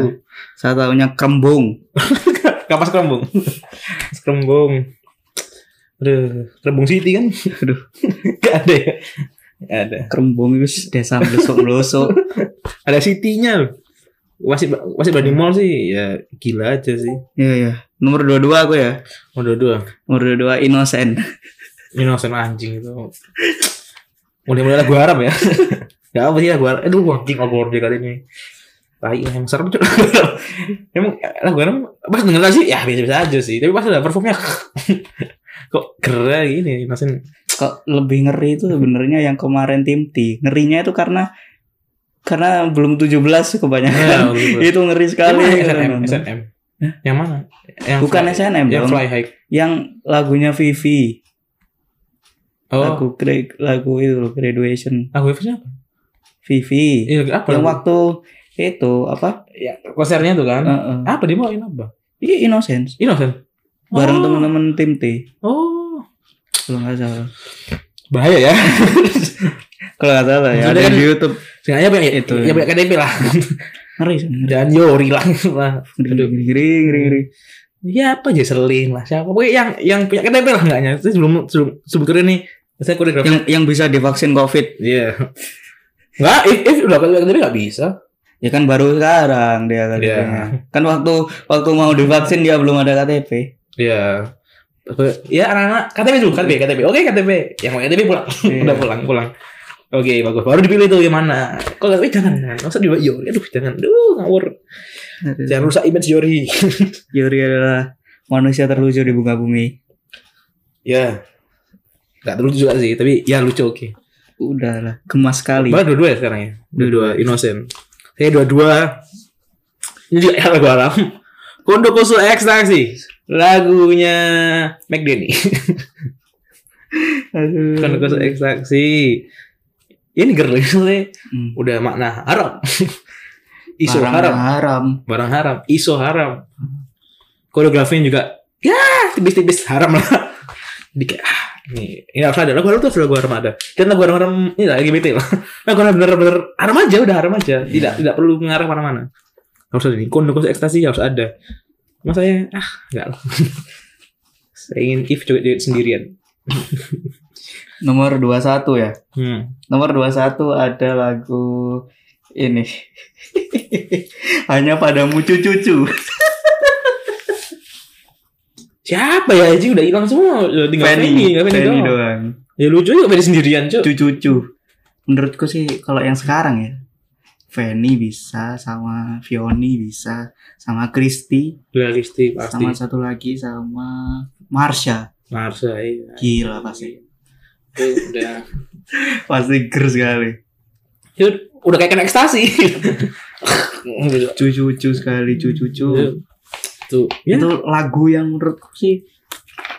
saya tahunya Kerembung kapas kerembung kerembung aduh kerembung city kan aduh nggak ada ya nggak ada Kerembung itu desa melosok melosok ada city-nya loh. Wasit wasit Bani Mall sih ya gila aja sih. Iya iya. Nomor 22 aku ya. Mau dua-dua. Nomor 22 Innocent. Innocent anjing itu. Mudah-mudahan lagu Arab ya. Gak apa sih lagu Arab. Aduh anjing lagu Arab dia kali ini. Tai emang serem cuy. Emang lagu Arab pas denger lagu sih ya biasa-biasa aja sih. Tapi pas ada performnya kok gerak gini Innocent. Kok lebih ngeri itu sebenarnya yang kemarin tim T. Ngerinya itu karena karena belum 17 kebanyakan. Ya, gitu. itu ngeri Yang sekali. mana Yang SNM, SNM. Yang mana? Yang Bukan fly, SNM yang dong. fly high. Yang lagunya Vivi. Oh, Lagu gra- lagu itu loh, graduation. lagu apa sih? Vivi. Iya, apa? yang lagu? waktu itu apa? ya, konsernya tuh kan. Heeh. Apa dia mau apa? Iya Innocence. Innocent. Oh. Bareng teman-teman tim T. Oh, Kalau nggak salah. bahaya ya. Kalau nggak salah ya. Maksudnya Ada kan- di YouTube. Sengaja banyak itu. Itu. Ya banyak KDP lah. Ngeri. sih, Ngeri. Dan Yori lah. Lah. Ngeri. Ngeri. Ngeri. ngeri. Ya apa Jesselyn lah. Siapa? Pokoknya yang yang punya KDP lah enggaknya. Itu sebelum sebelum sebelum keren nih. Saya koreografi. yang yang bisa divaksin covid Iya. Enggak, if, if udah kalau KDP enggak bisa. ya kan baru sekarang dia KTP-nya kan waktu waktu mau divaksin dia belum ada KTP Iya. Ya anak-anak KTP dulu KTP KTP. Oke KTP. Yang mau KTP pulang. Iya. Udah pulang pulang. Oke bagus. Baru dipilih tuh yang mana. Kalau KTP jangan. jangan. Masa di Yori. Aduh jangan. Duh ngawur. Jangan rusak image Yori. Yuri adalah manusia terlucu di bunga bumi Ya. Gak lucu juga sih, tapi ya lucu oke. udahlah gemas sekali Bahkan dua-dua ya sekarang ya. Dua-dua innocent. Saya dua-dua. Ini juga ya lagu Aram. Kondo Koso Ekstasi. Lagunya Mac Denny. Aduh. Kondo Koso Ekstasi. Ini girl maksudnya Hmm. udah makna haram. Iso Barang haram, haram barang haram, iso haram. Koreografinya juga ya tipis-tipis haram lah. Jadi kayak ah, ini, ini harus ada lagu haram tuh harus lagu haram ada. Dan lagu haram haram ini lah LGBT lah. Lagu haram bener-bener haram aja udah haram aja. Tidak tidak perlu mengarah mana-mana. Harus ada di kondok ekstasi harus ada. Mas saya ah enggak lah. saya ingin if joget-joget sendirian. nomor 21 ya Hmm. nomor 21 ada lagu ini hanya padamu cucu-cucu Siapa ya Aji udah hilang semua tinggal Fanny, tinggal Fanny doang. doang Ya lucu juga Fanny sendirian, Cuk. cucu-cucu. Menurutku sih kalau yang sekarang ya, Fanny bisa, sama Vioni bisa, sama Kristi, Realistik pasti. sama satu lagi sama Marsha. Marsha iya. Gila pasti. Itu udah Pasti ger sekali. itu udah kayak kena ekstasi. Cucu-cucu sekali, cucu-cucu. Tuh. Itu lagu yang menurutku sih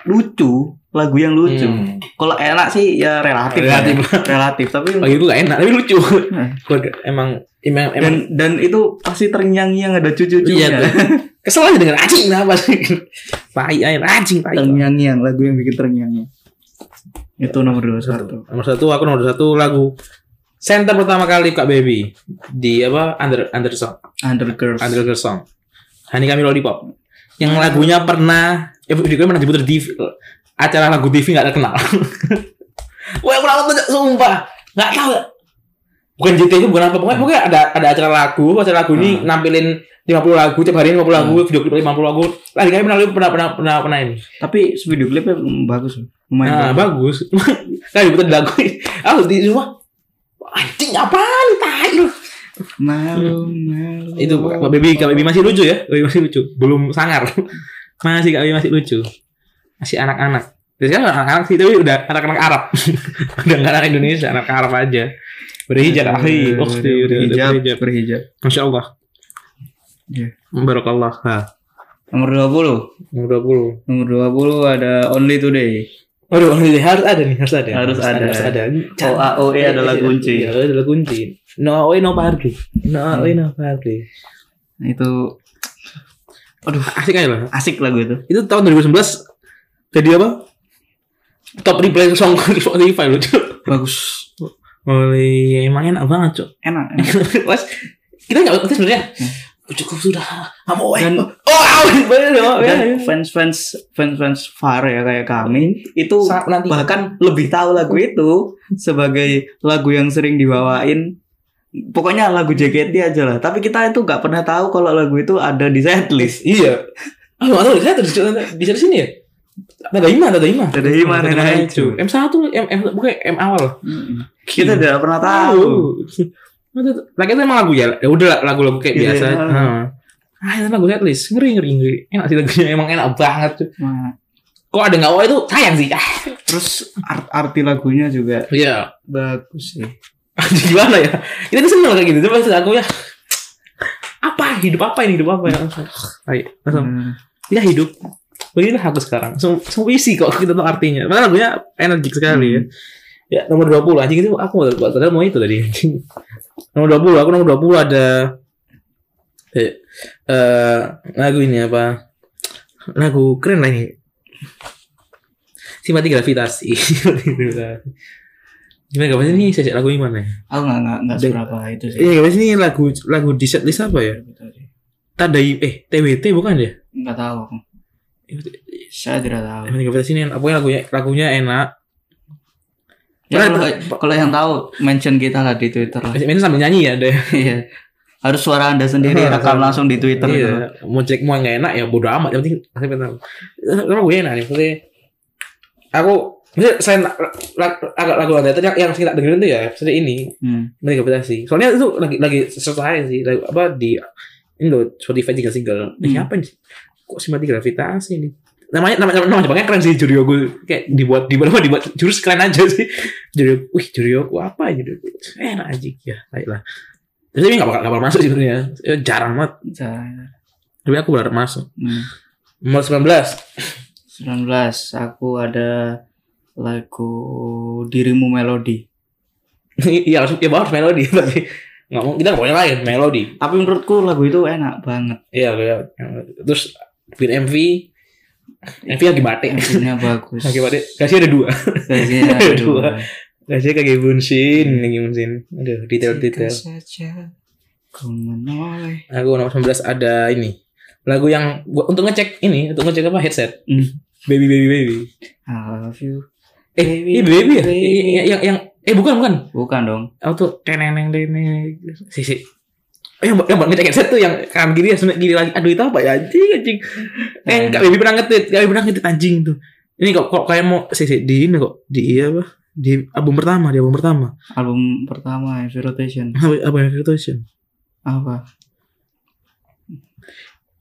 lucu, lagu yang lucu. Hmm. Kalau enak sih ya relatif. Relatif. Oh, iya. ya. relatif, tapi Bagi gue gak enak, tapi lucu. Nah. Keluarga- emang emang emang dan dan itu pasti terngiang-ngiang ada cucu-cucunya. Iya, tuh. kesel aja dengan anjing kenapa sih? Tai ayam anjing tai. terngiang-ngiang lagu yang bikin terngiang-ngiang itu nomor dua satu Nomor satu aku nomor satu lagu center pertama kali Kak Baby di apa under under song under girls under girl song Hani Kami Lollipop yang lagunya pernah ya video pernah diputar di acara lagu TV nggak terkenal gue pernah nonton sumpah nggak tahu ya. bukan JT itu bukan apa pokoknya, pokoknya ada ada acara lagu acara lagu ini nampilin 50 lagu tiap hari 50 lagu video klip 50 lagu Hani Kami pernah pernah pernah pernah, pernah ini tapi video klipnya mm, bagus loh. Nah, lumayan bagus. bagus. Kan diputar di lagu. Aku di rumah. Anjing apaan tai lu. malu malu Itu Kak Baby, Kak Baby masih lucu ya? Kak Baby masih lucu. Belum sangar. Masih Kak Baby masih lucu. Masih anak-anak. Biasanya anak-anak sih tapi udah anak-anak Arab. udah nggak anak Indonesia, anak Arab aja. Berhijab akhi, ukhti, berhijab, berhijab. berhijab. Masya Allah. Iya. Barakallah. Nah, Nomor 20. nomor 20. Nomor 20 ada Only Today. Waduh, ini harus ada nih, harus ada. Harus ada. Oh, Harus ada. OAOE E adalah kunci. Iya, OAOE adalah kunci. No OAOE no party. No OAOE no party. Itu aduh, Asik aja lah. asik lagu itu. Itu tahun 2019 jadi apa? Top replay song di Spotify loh, Cuk. Bagus. Oleh emang enak banget, Cuk. Enak. enak. Mas, kita enggak kita sebenarnya cukup sudah. Sama OAOE. Dan- Oh, iya, OAOE. Bener, OAOE. Dan fans-fans fans-fans Far ya kayak kami itu Sangat menanti. bahkan lebih tahu lagu itu sebagai lagu yang sering dibawain pokoknya lagu JKT aja lah tapi kita itu nggak pernah tahu kalau lagu itu ada di setlist Iya. Ah, nggak tahu saya terus bisa di sini ya. Ada Ima, ada Ima. ada di mana Tadahima Naichu. itu M1, M M bukan M awal. kita tidak pernah Iya. tahu tahu. Lagi itu emang lagu ya. Ya udah lah, lagu-lagu kayak Iya, biasa. iya. Heeh. Ah, itu lagu setlist. Ngeri, ngeri, ngeri. Enak sih lagunya. Emang enak banget. tuh. Nah, Kok ada nggak oh itu sayang sih. Ah, terus art- arti lagunya juga Iya. bagus sih Gimana ya? Kita ini seneng kayak gitu. Tapi maksud aku ya. Apa? Hidup apa ini? Hidup apa ya? Ayo. Langsung. Hmm. Ya hidup. Beginilah aku sekarang. Semua semua isi kok kita tahu artinya. Padahal lagunya energik sekali ya. Ya nomor 20 anjing itu aku mau- padahal mau itu tadi anjing. Nomor 20 aku nomor 20 ada eh eh, lagu ini apa? Lagu keren lah ini. Simpati gravitasi. Gimana gak ini sejak lagu yang mana? ya? aku nggak nggak nggak Dan- seberapa itu sih Gitu Iya gak ini lagu lagu di setlist apa Iya. ya? Tadai eh TWT bukan ya? nggak tahu aku. saya tidak tahu Simpati gravitasi ini enak. pokoknya lagunya lagunya enak. ya, Pernah- kalau, kalau yang tahu mention kita lah di Twitter lah. Ini sambil nyanyi ya deh. Iya. Harus suara Anda sendiri Iya, rekam iya. langsung di Twitter gitu. Iya, mau cek mau nggak enak ya bodo amat yang penting saya tahu. Kalau gue enak nih, maksudnya aku maksudnya saya na- la- agak lagu lagu tadi yang yang kita dengerin tuh ya maksudnya ini Hmm. medikapitasi. Soalnya itu lagi lagi selesai sih lagu apa di ini loh Spotify tiga single. Eh, Hmm. siapa nih? Kok simpati gravitasi nih? Namanya nama nama nama Jepangnya keren sih Jurio gue kayak dibuat dibuat apa, dibuat jurus keren aja sih. Jurio, wih Jurio aku apa Jurio aku enak aja ya, baiklah. Tapi ini nggak bakal nggak bakal masuk sih sebenarnya, Eh, jarang banget. Caranya. Tapi aku berharap masuk. Hmm. Nomor 19. 19 aku ada lagu dirimu melodi. Iya, harus ya bahwa harus melodi tapi nggak mau kita nggak boleh lain melodi. Tapi menurutku lagu itu enak banget. Iya, iya. terus bikin MV MV lagi batik. Maksudnya bagus. Lagi batik. Kasih ada dua. Kayaknya ada dua. Kasih kayak Bunsin, lagi Bunsin. Aduh, detail-detail. Jika saja ku menoleh. Aku nomor 19 ada ini. Lagu yang gua untuk ngecek ini, untuk ngecek apa headset. Hmm. Baby baby baby. I love you. Eh, Baby, iya baby ya. baby. Iya, Yang, yang eh bukan bukan. Bukan dong. Auto teneneng teneng. Si si. Eh, yang buat yang buat ngecek headset tuh yang kanan kiri ya, sebelah kiri lagi. Aduh itu apa ya anjing anjing. Eh, Kak Baby pernah ngetit, Kak Baby pernah ngetit anjing tuh. Ini kok kok kayak mau si si di ini kok di iya apa? Di album pertama, di album pertama. Album pertama Heavy Rotation. Apa apa yang Reputation? Apa?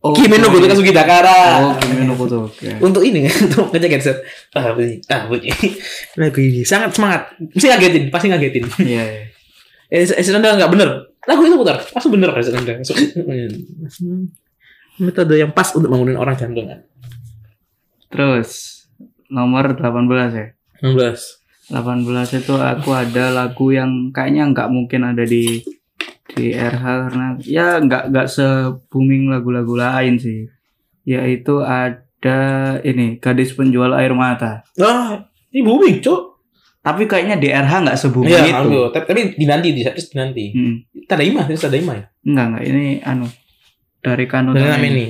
Oh, Kimi no gitu. Gotoka Sugidakara. Oh, Kimi no Gotoka. Untuk ini untuk ngecek headset. Ah bunyi, ah bunyi. Lagu ini sangat semangat. Mesti ngagetin, pasti ngagetin. Iya. iya. Eh, headset Anda nggak bener. Lagu itu putar, langsung bener headset Anda. Langsung- Metode yang pas untuk bangunin orang jantungan. Terus nomor 18 ya. 16. 18 itu aku ada lagu yang kayaknya nggak mungkin ada di di RH karena ya nggak nggak se booming lagu-lagu lain sih. Yaitu ada ini gadis penjual air mata. Ah, ini booming, Cok. Tapi kayaknya di RH nggak se booming Iya, itu. aku. Tapi, tapi dinanti di setlist dinanti. Mm, Tadaima, ini Tadaima ya. Enggak enggak ini anu dari Kanu Dan Tami. ini.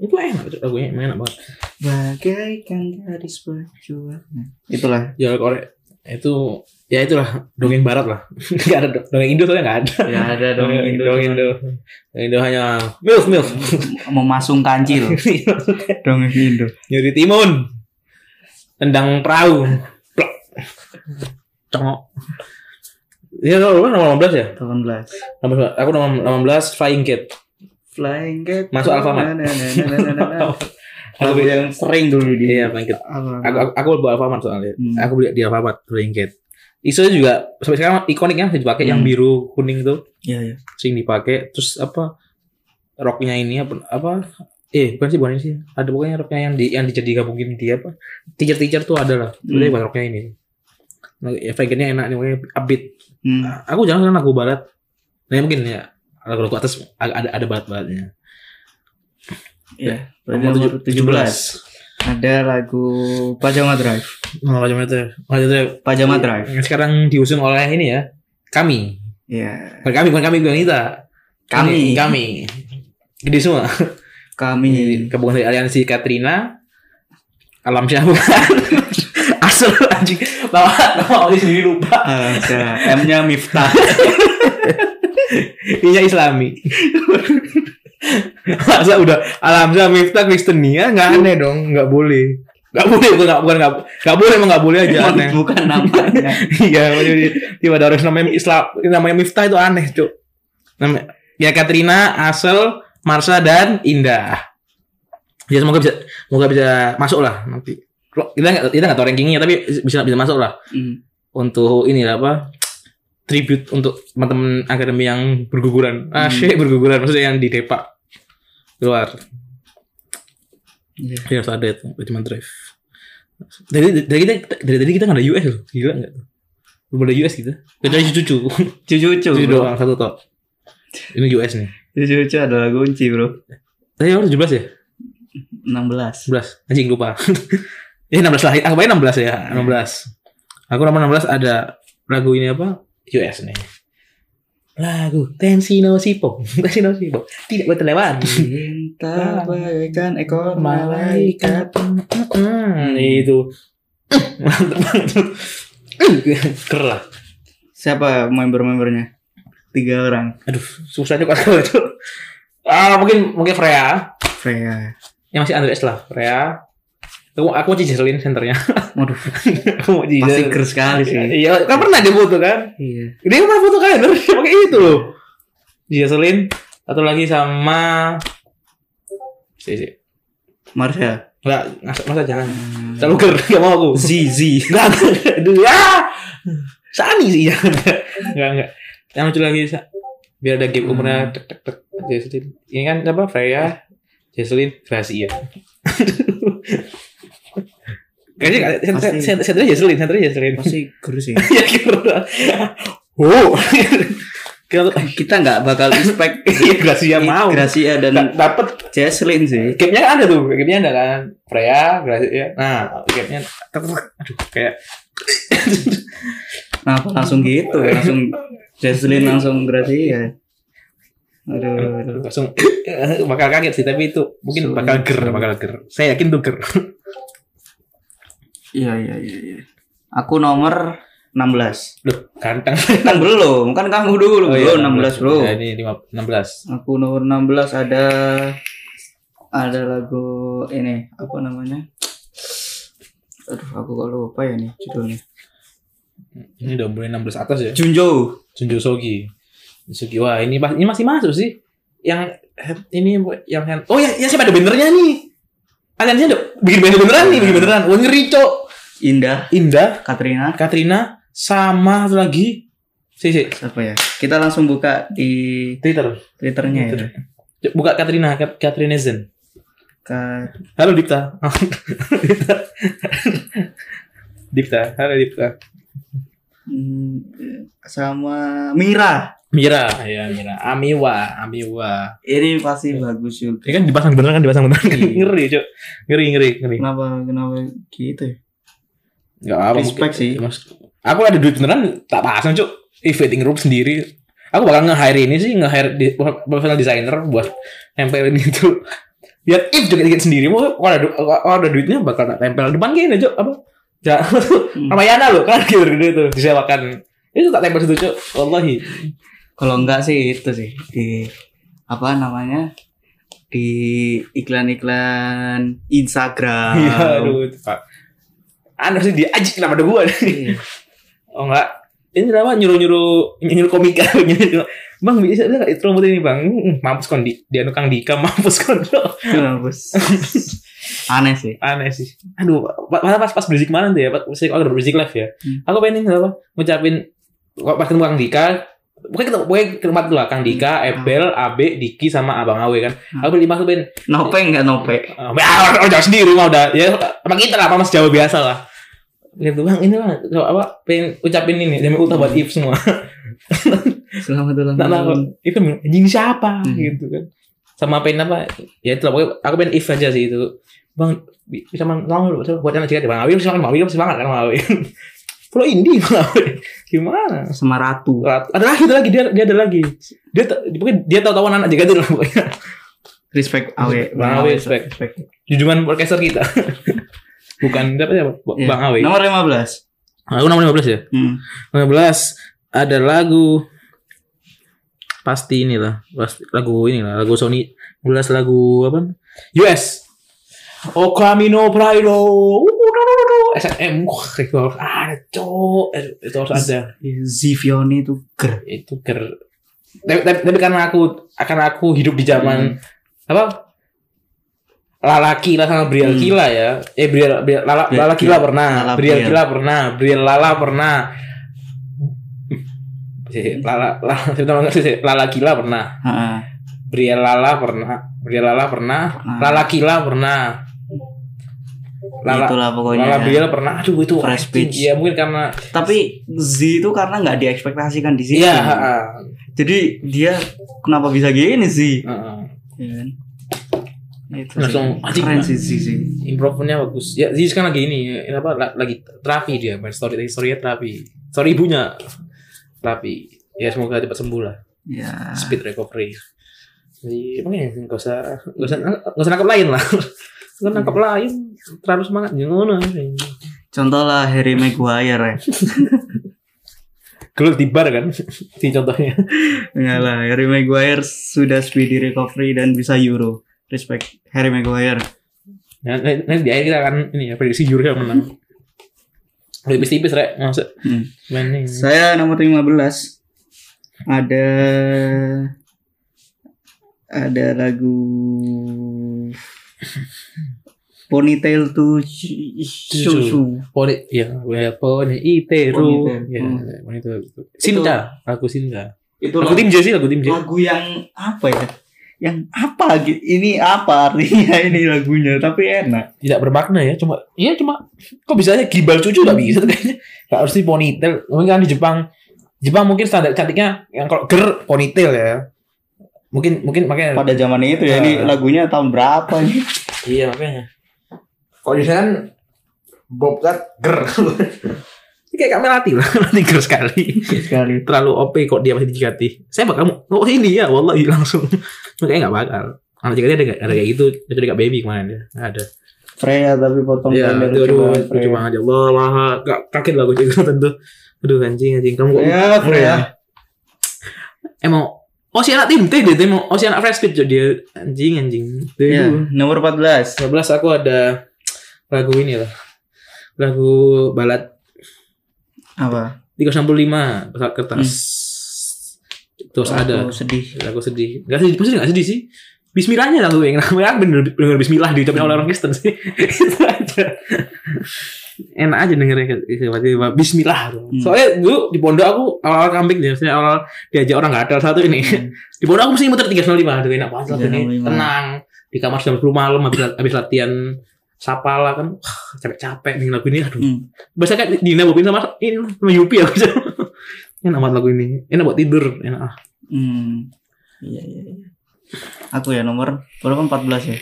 Itu enak, Cok. lagunya emang enak banget. Bagaikan gadis penjual. Nah, Itulah. Ya korek itu ya itulah dongeng barat lah. Enggak ada do- dongeng Indo soalnya enggak ada. Ya ada dong Dongeng Indo, Indo dongeng Indo. Dongeng Indo hanya milf milf. memasung kancil. dong Indo. Nyuri timun. Tendang perahu. Plak. Congok. Ya nomor nomor 18 ya? 18. Nomor- Aku nomor 18 Flying Cat. Flying Cat. Masuk Alfamart. Na, na, na, na, na, na, na. Aku Lagu beli yang sering dulu di Iya, Flying Cat. Alfamart. Aku aku, aku beli Alfamart soalnya. Hmm. Aku beli di Alfamart Flying Cat. ISO juga sampai sekarang ikonik kan masih dipakai yang Hmm. biru kuning itu Iya, iya. sering dipakai terus apa roknya ini apa apa eh bukan sih bukan ini sih ada pokoknya roknya yang di yang dijadi gabungin dia apa teacher teacher tuh ada lah sebenarnya Hmm. bukan roknya ini nah, ya vegannya enak nih pokoknya upbeat Hmm. Nah, aku jangan lagu barat nah ya mungkin ya lagu lagu atas ag- ada ada barat baratnya Iya. Berarti nomor nomor 17. Ada lagu Pajama Drive. oh macam itu macam itu Pajama Drive. yang sekarang diusung oleh ini ya kami Iya. bukan kami bukan kami bukan kita Ini, Kami. kami gede semua Iya, Kami. gabungan dari aliansi Katrina alam syah bukan asal anjing nama nama orang sendiri lupa Ah, ada. M-nya Miftah. iya islami masa udah alam syah miftah Kristennia nggak aneh dong nggak boleh nggak boleh bukan nggak bukan nggak nggak boleh emang nggak boleh aja Emang Iya, aneh bukan namanya. iya jadi tiba ada orang yang namanya Islam namanya Miftah itu aneh cuk Nama- ya Katrina Asel Marsha dan Indah ya semoga bisa semoga bisa masuk lah nanti Lo- kita nggak kita nggak tahu rankingnya tapi bisa bisa masuk lah Hmm. untuk ini lah apa tribute untuk teman-teman akademi yang berguguran Hmm. asyik berguguran maksudnya yang di depak luar Iya. ya harus ada itu cuma drive dari dari kita dari tadi kita nggak ada US loh gila nggak tuh? belum ada US gitu kecuali cucu Cucu-cucu. cucu bro. doang satu top ini US nih Cucu-cucu adalah kunci, Bro. tadi orang 17 ya 16. 11 anjing lupa ya 16 lah aku bayar 16 ya Hmm. 16 aku nomor 16 ada lagu ini apa US nih lagu tensi no sipong tensi no sipong tidak boleh terlewat Cinta bagaikan ekor malaikat. Hmm, itu mantep banget Ker lah Siapa member-membernya? Tiga orang. aduh susah juga kalau itu ah mungkin mungkin Freya Freya. yang masih Andres lah Freya aku aku mau cicelin senternya Waduh, aku mau pasti cicelin ker sekali sih. iya kan pernah dia foto kan Iya. Dia yang mana foto kalender dia pakai itu loh. Jocelyn Iya, satu lagi sama si si. Marsha. Enggak, masa, masa jangan. Hmm. Terlalu ger, enggak mau aku. Zizi. Enggak, enggak. aduh, ah. Sani sih iya. jangan. Enggak, enggak. Yang lucu lagi Sa. biar ada game umurnya tek tek tek Jocelyn. Ini kan apa Freya, Jocelyn, Gracia. Kayaknya Pasti. sentra sentra Jocelyn, sentra Jocelyn. Pasti ker sih. Ya ger. Oh. Kita Kita nggak bakal expect Iya Gracia mau. Gracia ya, dan Dapat Jesslyn sih. gapnya ada tuh, gapnya ada kan. Freya, Gracia. Nah, gapnya aduh kayak Kenapa langsung gitu? Langsung Jesslyn langsung Gracia. Aduh. langsung bakal kaget sih tapi itu mungkin Sulit. bakal ger, bakal ger. Saya yakin tuh ger. Iya, iya, iya, iya. Aku nomor 16. Duh, ganteng. Kan belum, kan kamu Oh, dulu. belum 16, Bro. Ya, ini lima- 16. Aku nomor 16 ada ada lagu ini apa namanya? Aduh, aku kok lupa ya nih judulnya. Ini udah mulai 16 atas ya. Junjo. Junjo Sogi. Sogi wah ini pas- ini masih masuk sih. Yang hand- ini yang hand- Oh ya, ya siapa ada bannernya nih? Aliansi ada bikin banner beneran nih, bikin beneran. Wah ngeri, Cok. Indah Indah Katrina Katrina sama satu lagi si si siapa ya? Kita langsung buka di Twitter Iya, Twitternya ya. Cuk, buka Katrina Kat Katrina Zen Kat halo Dipta Dipta halo Dipta hmm, sama Mira. Mira ya Mira Amiwa Amiwa Ini pasti bagus juga. ini kan dipasang beneran kan dipasang beneran kan Iya. ngeri cok ngeri ngeri ngeri Kenapa kenapa gitu ya? nggak apa Respect sih. aku ada duit beneran tak pasang cok event room sendiri aku bakal nge-hire ini sih nge-hire di, professional designer buat nempelin itu biar if juga dikit sendiri mau kalau ada, du- kalau ada duitnya bakal tak tempel depan gini cok apa ya Hmm. Ramayana loh kan gitu gitu itu disewakan itu tak tempel situ cok wallahi Kalau enggak sih itu sih di apa namanya? di iklan-iklan Instagram. iya aduh itu, pak aneh sih dia ajik kenapa ada gua Iya. Oh enggak. Ini kenapa nyuruh-nyuruh nyuruh komika nyuruh Bang bisa bisa Hmm, enggak promote ini Bang? Mm, Mampus kon di dia nukang Dika mampus kon. Mampus. aneh sih aneh sih. Aduh, pa- malah pas pas berisik kemarin tuh ya, pas berisik aku udah berisik live ya. Hmm. Aku pengen ini apa? Ngucapin pas ketemu Kang Dika, pokoknya ketemu pokoknya ke rumah tuh lah Kang Dika, Ebel, Abe, Diki sama Abang Awe kan. Aku beli tuh pengen nope nggak nope Oh, orang jauh sendiri mah udah ya sama kita lah sama Jawa biasa lah gitu bang ini bang coba apa pengen ucapin ini jamin ultah buat If semua selamat ulang nggak tahu tahun If kan bilang, anjing siapa Hmm. gitu kan sama pengen apa ya itu lah pokoknya aku pengen If aja sih itu bang bi- bisa man tolong lu, coba buat anak jika bang Awi bisa makan bang Awi bisa banget kan bang Awi Pulau Indi bang Awi gimana semaratu ada lagi ada lagi dia dia ada lagi dia ta- pokoknya dia tahu tahuan anak jaga tuh lah pokoknya respect awe Bang Awe, respect. jujuman podcaster kita bukan siapa siapa Iya. bang Awi nomor 15 Lagu nomor 15 ya? hmm. 15 ada lagu pasti inilah, pasti lagu inilah, lagu Sony 15 lagu apa? US. O Camino Prado. SNM. Wah, itu harus ada, cok. Itu harus ada. Zivioni itu ger Itu ker. Tapi, tapi, tapi karena aku akan aku hidup di zaman apa? Lalaki lah sama Briel Hmm. Kila ya. Eh Briel, Briel Lala, Briel Lala Kila pernah, Lala Briel Briel. Kila pernah, Briel Lala pernah. Si, Lala Lala sebentar, bentar, si, Lala Kila pernah, Ha-ha. Briel Lala pernah, Briel Lala pernah, Pernah. Lala Kila pernah. Lala itulah Gitu pokoknya Lala ya. Briel pernah. Aduh itu Fresh anjing. Prince. Iya mungkin karena tapi Z itu karena nggak diekspektasikan di sini iya, heeh. jadi dia kenapa bisa gini sih Heeh. Iya kan? itu Langsung, sih. keren sih Z sih improve-nya bagus. Ya, Ziz kan lagi ini, ya, apa la- lagi terapi dia, main story story terapi. Sorry ibunya. Terapi. Ya semoga cepat sembuh lah. ya Speed recovery. Jadi, emang ya, nggak usah, nggak usah, nggak usah nangkep lain lah. Nggak usah nangkep lain, terlalu semangat ya, jangan contoh lah Harry Maguire ya Gelut di bar kan, si contohnya. Enggak lah, Harry Maguire sudah speedy recovery dan bisa Euro. Respect Harry Maguire. Nah, nanti nanti di akhir kita akan ini ya prediksi juri yang menang. Tipis-tipis rek, maksud Hmm. main ini. Saya nomor 15. Ada ada lagu Ponytail to Shushu. Poni, ya, ya, poni iteru, Ponytail. ya, Hmm. poni itu. Oh. Sinta, aku Sinta. Itu Lagu tim J sih, lagu tim J. lagu yang apa ya? Yang apa gitu? Ini apa artinya ini lagunya? Tapi enak. Tidak bermakna ya, cuma, iya cuma, kok bisa aja gibal cucu gak bisa tuh kayaknya. Gak harus di ponytail, mungkin kan di Jepang, Jepang mungkin standar cantiknya yang kalau ger ponytail ya. Mungkin mungkin makanya Pada zaman itu ya ini Ya. lagunya tahun berapa ini? iya makanya. Kalau di sana kan bobcat ger. Ini kayak kami latih lah, latih ger sekali. Sekali. terlalu OP kok dia masih di JKT. Saya bakal mau oh, ini ya wallahi langsung. Makanya nggak bakal. Anak JKT ada, ada kayak gitu, itu dekat baby kemarin ya. Nggak Ada. Freya tapi potong Ya, pendek aduh, aduh, banget, lucu banget ya Allah, lah, gak kaget lah gue juga tentu. Aduh anjing, anjing kamu kok. Freya, Iya, Freya. Emang oh si anak tim T dia tuh emang oh si anak fresh fit dia anjing anjing. Tuh, Ya, aduh. nomor 14. 12 aku ada lagu ini lah. Lagu balad Apa? 365 pesawat kertas. Terus ada Aku Oh, sedih. lagu sedih gak sedih maksudnya gak sedih sih Bismillahnya lagu yang namanya aku bener denger Bismillah diucapin oleh orang Kristen sih itu aja enak aja dengernya kayak gitu, tiba-tiba Bismillah tuh. Hmm. soalnya dulu di pondok aku awal-awal kambing ya maksudnya awal diajak orang gak ada satu ini Hmm. di pondok aku mesti muter 365 aduh enak banget lagu ini 365. tenang di kamar jam 10 malam habis, habis latihan sapala kan wah, capek-capek nih lagu ini aduh Hmm. biasa kayak dinabobin sama ini lah, sama Yupi aku enak banget lagu ini enak buat tidur enak ah Hmm. Iya, iya, iya. Aku ya nomor berapa 14 ya?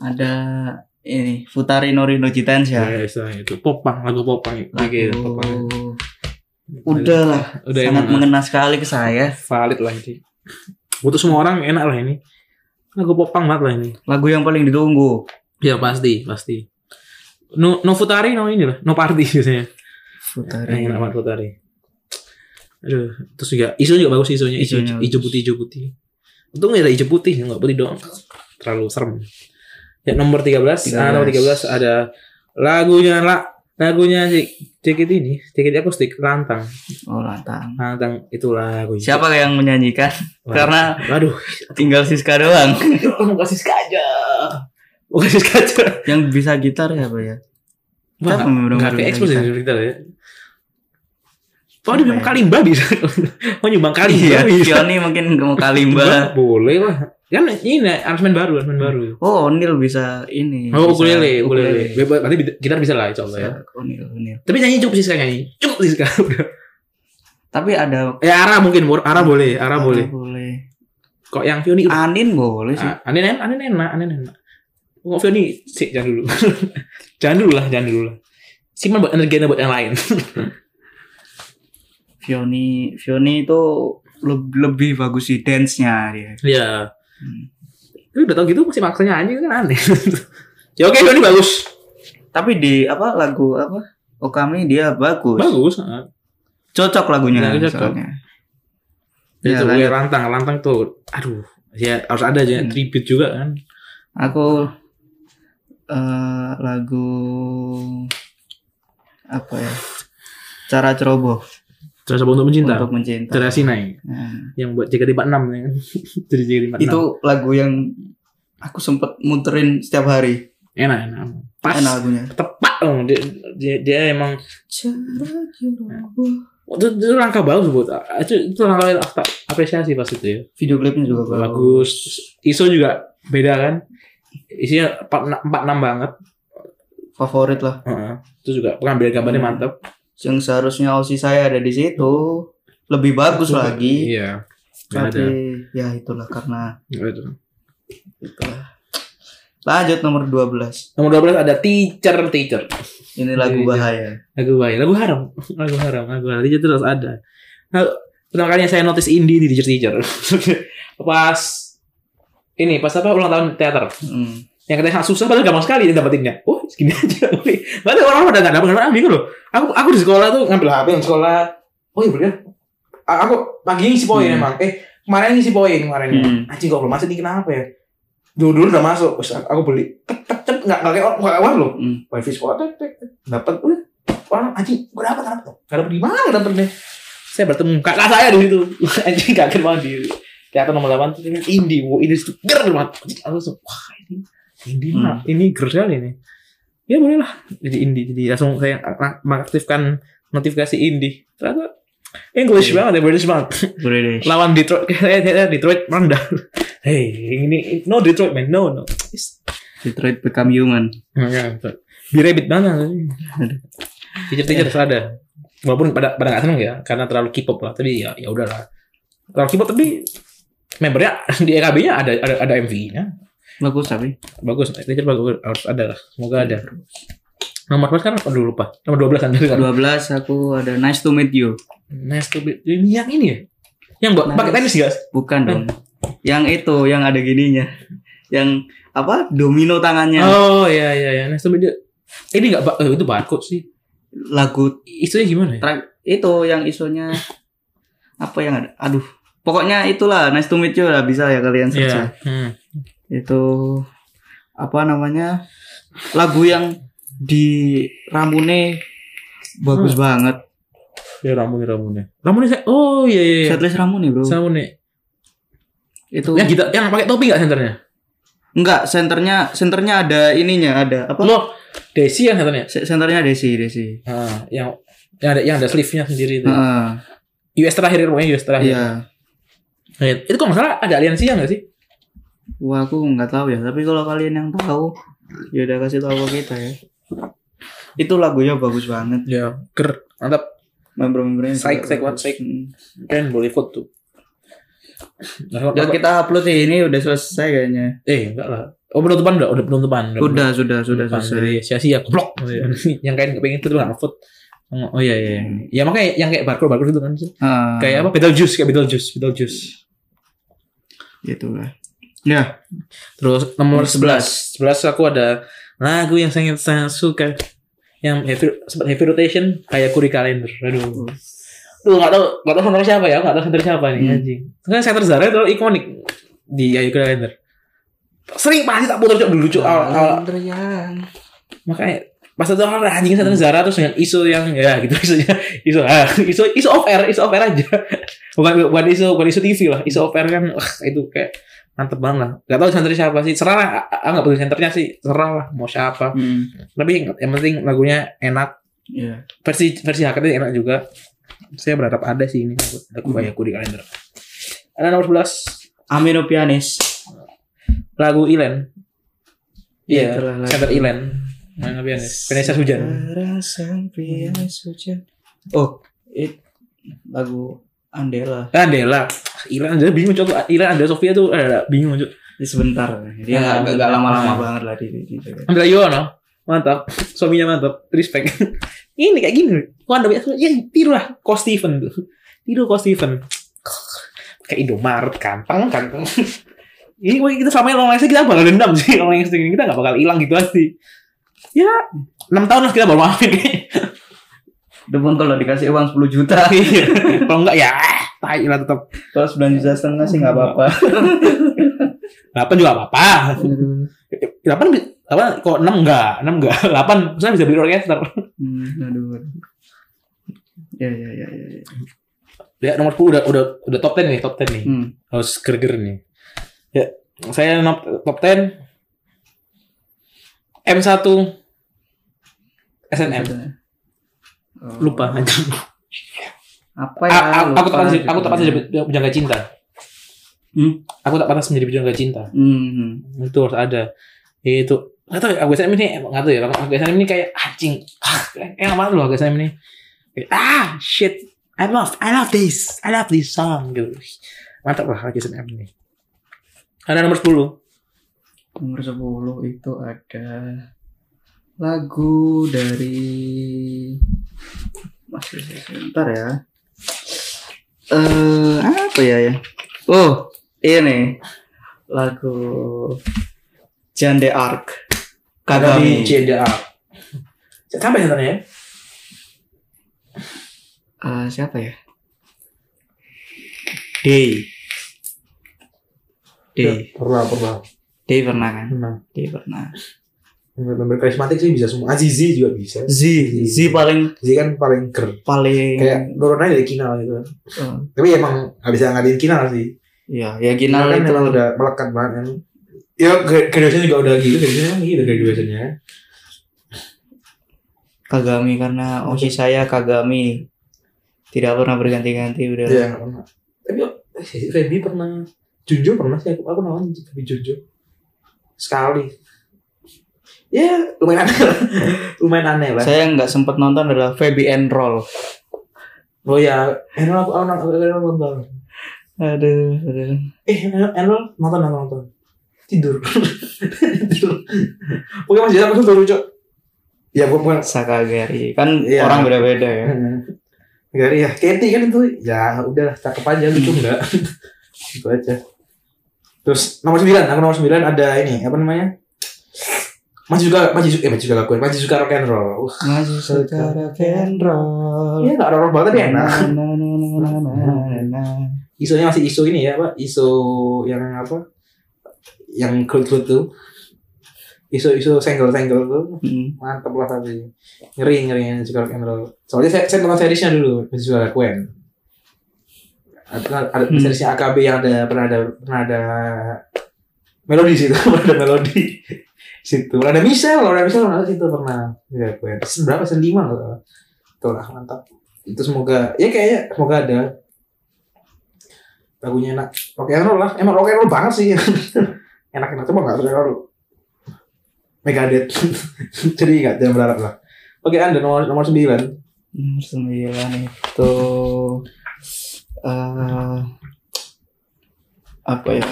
Ada ini Futari Nori no Jitensha. Ya, ya, itu popang lagu popang itu kayak Lagu... popang. Udah lah, Iya, Udah sangat emang mengena sekali ke saya. valid lah ini. Untuk semua orang enak lah ini. Lagu popang banget lah ini. Lagu yang paling ditunggu. Ya pasti, pasti. No, no futari, no ini lah, no party biasanya. Futari. Enak banget futari. Aduh, terus juga isu juga bagus isunya, isu Isunya hijau bagus. putih hijau putih. Untung ada hijau putih, nggak putih doang. Terlalu serem. Ya nomor 13, Ah, nomor 13 13. ada lagunya lah lagunya si JKT ini, JKT akustik lantang. Oh, lantang. Nah, tentang itulah lagu Siapa yang menyanyikan? Waduh. Karena Waduh, tinggal Siska doang. kasih aja. Bukan Sis Kaca. Yang bisa gitar ya, Pak ya? Siapa yang bener-bener Enggak ke bisa expose gitar? dari kita ya. Oh, dia Siapa bilang ya? kalimba bisa. Oh, nyumbang Iya, kalimba bisa. Kioni mungkin mau kalimba. Boleh lah. Kan ini aransemen baru, aransemen baru. Oh, Onil bisa ini. Oh, bisa ukulele, ukulele. Bebas, nanti bi- gitar bisa lah, insya Allah ya. Bisa Onil, Onil. Tapi nyanyi cukup Siska nyanyi. Cukup Siska. Udah. Tapi ada Ya, Ara mungkin, Bor. Ara boleh, Ara boleh. boleh. Kok yang Vioni udah. Anin boleh Iya sih. Ah, Aneh enak, aneh enak, aneh enak. Kok Vioni, sih, jangan dulu. jangan dulu lah, jangan dulu lah. Simpan buat energinya buat yang lain. Vioni, Vioni itu leb- lebih bagus sih dance-nya dia. Iya. Hmm. Tapi udah tau gitu masih maksanya aja kan aneh. ya oke, Vioni bagus. Tapi di apa lagu apa? Okami dia bagus. Bagus. ah. Cocok lagunya Lagu cocok. soalnya. Ya, Ya, itu gue lanjut. rantang, rantang tuh. Aduh, ya harus ada aja Hmm. tribute juga kan. Aku eh lagu apa ya? Cara ceroboh Terus untuk mencinta. untuk mencinta. Cara Sinai Nah, yang buat JKT46 ya kan. Jadi JKT46. itu lagu yang aku sempet muterin setiap hari. enak, enak. Pas. Enak lagunya. Tepat dong. Dia, dia, dia emang Cara ceroboh. itu, itu langkah bagus buat itu, itu langkah yang aku tak apresiasi pas itu ya. Video klipnya juga bagus. Bagus. ISO juga beda kan. Isinya 46 banget. Favorit lah. Heeh. Itu juga pengambilan gambarnya Hmm. mantap. yang seharusnya osi saya ada di situ lebih bagus lagi Iya. Nggak tapi ada. ya itulah karena Nggak ada. itulah lanjut nomor 12 Nomor 12 ada teacher teacher. ini lagu Iya. bahaya Lagu baik, lagu haram, lagu haram, lagu haram. Teacher terus ada. Nah, pertama kalinya saya notice indie di teacher teacher. pas ini pas apa ulang tahun teater Hmm. yang katanya sangat susah padahal gampang sekali dapetinnya oh segini aja boleh padahal orang pada nggak dapat karena bingung loh aku aku di sekolah tuh ngambil HP yang sekolah oh iya bener A- aku pagi ngisi poin Hmm. emang eh kemarin ngisi poin kemarin Hmm. anjing kok belum masuk nih kenapa ya dulu dulu udah masuk Terus aku beli tek tek tek nggak nggak kayak orang nggak kayak orang loh Hmm. wifi sekolah tek tek tek. dapat udah orang anjing gue dapat dapat nggak dapat di mana dapatnya saya bertemu kakak saya di situ anjing kaget banget di kelihatan nomor 8 tuh ini indie wow indie itu ger banget Anjing, aku langsung wah ini indie Hmm. nah, ini ger sekali ini ya boleh lah jadi indie jadi langsung saya ak- mengaktifkan notifikasi indie ternyata English Iya. banget ya British banget boleh deh lawan Detroit saya saya Detroit rendah hey ini no Detroit man no no Detroit Become Human di rabbit mana teacher teacher harus ada walaupun pada pada nggak seneng ya karena terlalu K-pop lah tapi ya ya udahlah terlalu K-pop tapi membernya di EKB nya ada ada, ada MV nya bagus tapi bagus teacher bagus harus ada lah semoga ada nomor berapa kan aduh lupa nomor 12 kan 12 aku ada Nice to Meet You nice to be ini yang ini ya yang buat Nice. pakai tenis guys bukan dong yang itu yang ada gininya yang apa domino tangannya oh iya iya iya nice to be ini nggak ba- eh, itu barcode sih lagu isunya gimana ya? track itu yang isunya apa yang ada aduh pokoknya itulah Nice to Meet You lah bisa ya kalian search ya. Iya. Hmm. itu apa namanya lagu yang di Ramune bagus banget Ya Ramune Ramune. Ramune saya oh iya iya. iya. setlist Ramune bro Ramune. itu Yang kita yang pakai topi nggak senternya? enggak senternya senternya ada ininya ada apa Lo Desi yang senternya? Se- senternya Desi Desi Ah, yang yang ada yang ada sleeve-nya sendiri itu. Heeh, US terakhir pokoknya US terakhir. Ah. Iya. iya Itu kalau nggak salah ada aliansi ya nggak sih? wah aku nggak tahu ya tapi kalau kalian yang tahu ya udah kasih tahu ke kita ya itu lagunya bagus banget Iya. Ker mantap. member-membernya Saik, saik, juga bagus. saik. Hmm. Keren boleh vote tuh. Nah, udah apa- kita upload sih ini udah selesai kayaknya eh enggak lah. Oh penutupan udah, udah penutupan. udah sudah sudah Penutupan. selesai Jadi sia-sia blok. yang kayak kepengin itu tuh nggak vote. Oh iya iya. iya. Hmm. Ya makanya yang kayak barcode barcode itu kan sih. Heeh. Kayak apa? Beetlejuice kayak Beetlejuice, Beetlejuice. gitu lah ya Terus nomor Nomor 11 11 Hmm, aku ada lagu yang sangat sangat suka yang heavy, sempat heavy rotation kayak kuri kalender. Aduh. Tuh enggak tahu enggak tahu center siapa ya, enggak tahu center siapa nih Hmm. anjing. Kan center Zara itu ikonik di kayak kuri kalender. Sering pasti tak putar cok dulu cok Ah. awal, awal. Makanya pas itu awal anjing center Zara terus dengan isu yang ya gitu isunya isu ah isu isu off air isu off air aja bukan bukan isu bukan isu TV lah isu off air kan wah, itu kayak mantep banget lah gak tau sentri siapa sih serah lah A- A- nggak peduli senternya sih serah lah mau siapa Hmm. tapi yang, yang penting lagunya enak Iya. versi versi hakatnya enak juga saya berharap ada sih ini aku aku banyak aku di kalender ada nomor 11 Amino Pianis. lagu Ilen iya Itulah lagu. center Ilen mana biasanya Vanessa Hujan Rasan Pianis hujan. Oh, it lagu Andela. ah Dela Ilen aja bingung coba Ilen ada Sofia tuh eh, ada, bingung coba Ini sebentar. Ah, Dia nggak nggak- nggak bentar. lama-lama banget lah di di. di- di- Andrea Yono mantap suaminya mantap respect ini kayak gini kok anda banyak ya tiru lah kok Steven tuh tiru kok Steven kayak Indomaret gampang gampang ini wah, kita selama ini long lasting kita bakal dendam sih long lasting ini kita gak bakal hilang gitu pasti ya 6 tahun lah kita baru maafin Depan kalau dikasih uang 10 juta. Iya. kalau enggak ya tai lah tetap Kalau 9 juta setengah sih nggak apa-apa. 8 juga apa-apa 8 apa kok 6 enggak 6 enggak 8 saya bisa beli orkester Hmm, aduh. Ya ya ya ya. ya. ya nomor 10 udah udah udah top 10 nih top 10 nih Hmm. harus gerger nih. Ya, saya top, top 10 M1 SNM. Oh. Lupa aja. Apa ya? A- a- Aku tak lupa pantas aku judulnya. tak pantas jadi pujangga cinta. Hmm? Aku tak pantas menjadi pujangga cinta. Hmm. Itu harus ada. Itu Gak tau ya, aku SNM ini Gak tau ya, aku SNM ini kayak anjing ah, Enak banget loh aku SNM ini Kayak, Ah, shit I love, I love this I love this song gitu. Mantap lah aku SNM ini Ada nomor 10 Nomor 10 itu ada lagu dari masih sebentar ya. Eh apa ya ya? Oh, ini lagu Jande Ark Kagami. JDA. Sampai sebenarnya ya? Eh, siapa ya? Day. Day. Iya. Pernah, pernah. Day pernah kan? Pernah. Day pernah. Member karismatik sih bisa semua. Azizi juga bisa. Z, Z paling Azizi kan paling ker. paling Kayak Dorona dari Kinal gitu. eh, Tapi emang nggak bisa ngadain Kinal sih. Iya, ya Kinal Kinal kan itu emang udah melekat banget kan. Ya gra- graduation juga udah gitu. Graduation emang gitu graduationnya. Kagami karena Oshi saya Kagami tidak pernah berganti-ganti udah. Iya. nggak pernah. Tapi eh, Feby pernah. Junjo pernah sih. Aku, aku nonton Feby Junjo. Sekali. Ya lumayan aneh lah. lumayan aneh lah. Saya nggak sempat nonton adalah Feby and Roll. Oh ya, Enol aku aku aku- aku- aku nonton. Aduh, aduh. Eh, Enol Enol nonton nonton nonton. Tidur. Tidur. Oke Mas Jasa langsung turun, Cok. Ya bukan bukan. Sakagari kan Iya. orang beda-beda ya. Hmm. Gari ya, Katy kan itu ya udahlah cakep aja lucu enggak. gitu aja. Terus nomor 9, aku nomor 9 ada ini, apa namanya? Masih juga masih juga eh masih juga lakuin, masih suka rock and roll. Uh, Masih suka rock and roll. Iya, enggak rock roll banget tapi enak. Na, na, na, na, na, na, na, na. Isunya masih isu ini ya, Pak. Isu yang apa? Yang clue-clue tuh. Isu-isu single-single tuh. Hmm. Mantap lah tapi. Ngeri, ngeri. Juga rock and roll. Soalnya saya, saya nonton seriesnya dulu. Masih juga Gwen. Ada, ada Hmm. seriesnya AKB yang ada, pernah ada, pernah ada melodi situ. pernah ada melodi. situ. Pernah ada Michelle. Pernah ada Michelle. Pernah ada situ. Pernah. Ya, Gwen. Season berapa? Season lima kalau nggak salah. Tuh lah, mantap. Itu semoga, ya kayaknya semoga ada lagunya enak rock and roll lah emang rock and roll banget sih enak enak cuma nggak rock and roll Megadeth jadi nggak jangan berharap lah oke anda nomor nomor sembilan Nomor sembilan itu eh apa ya?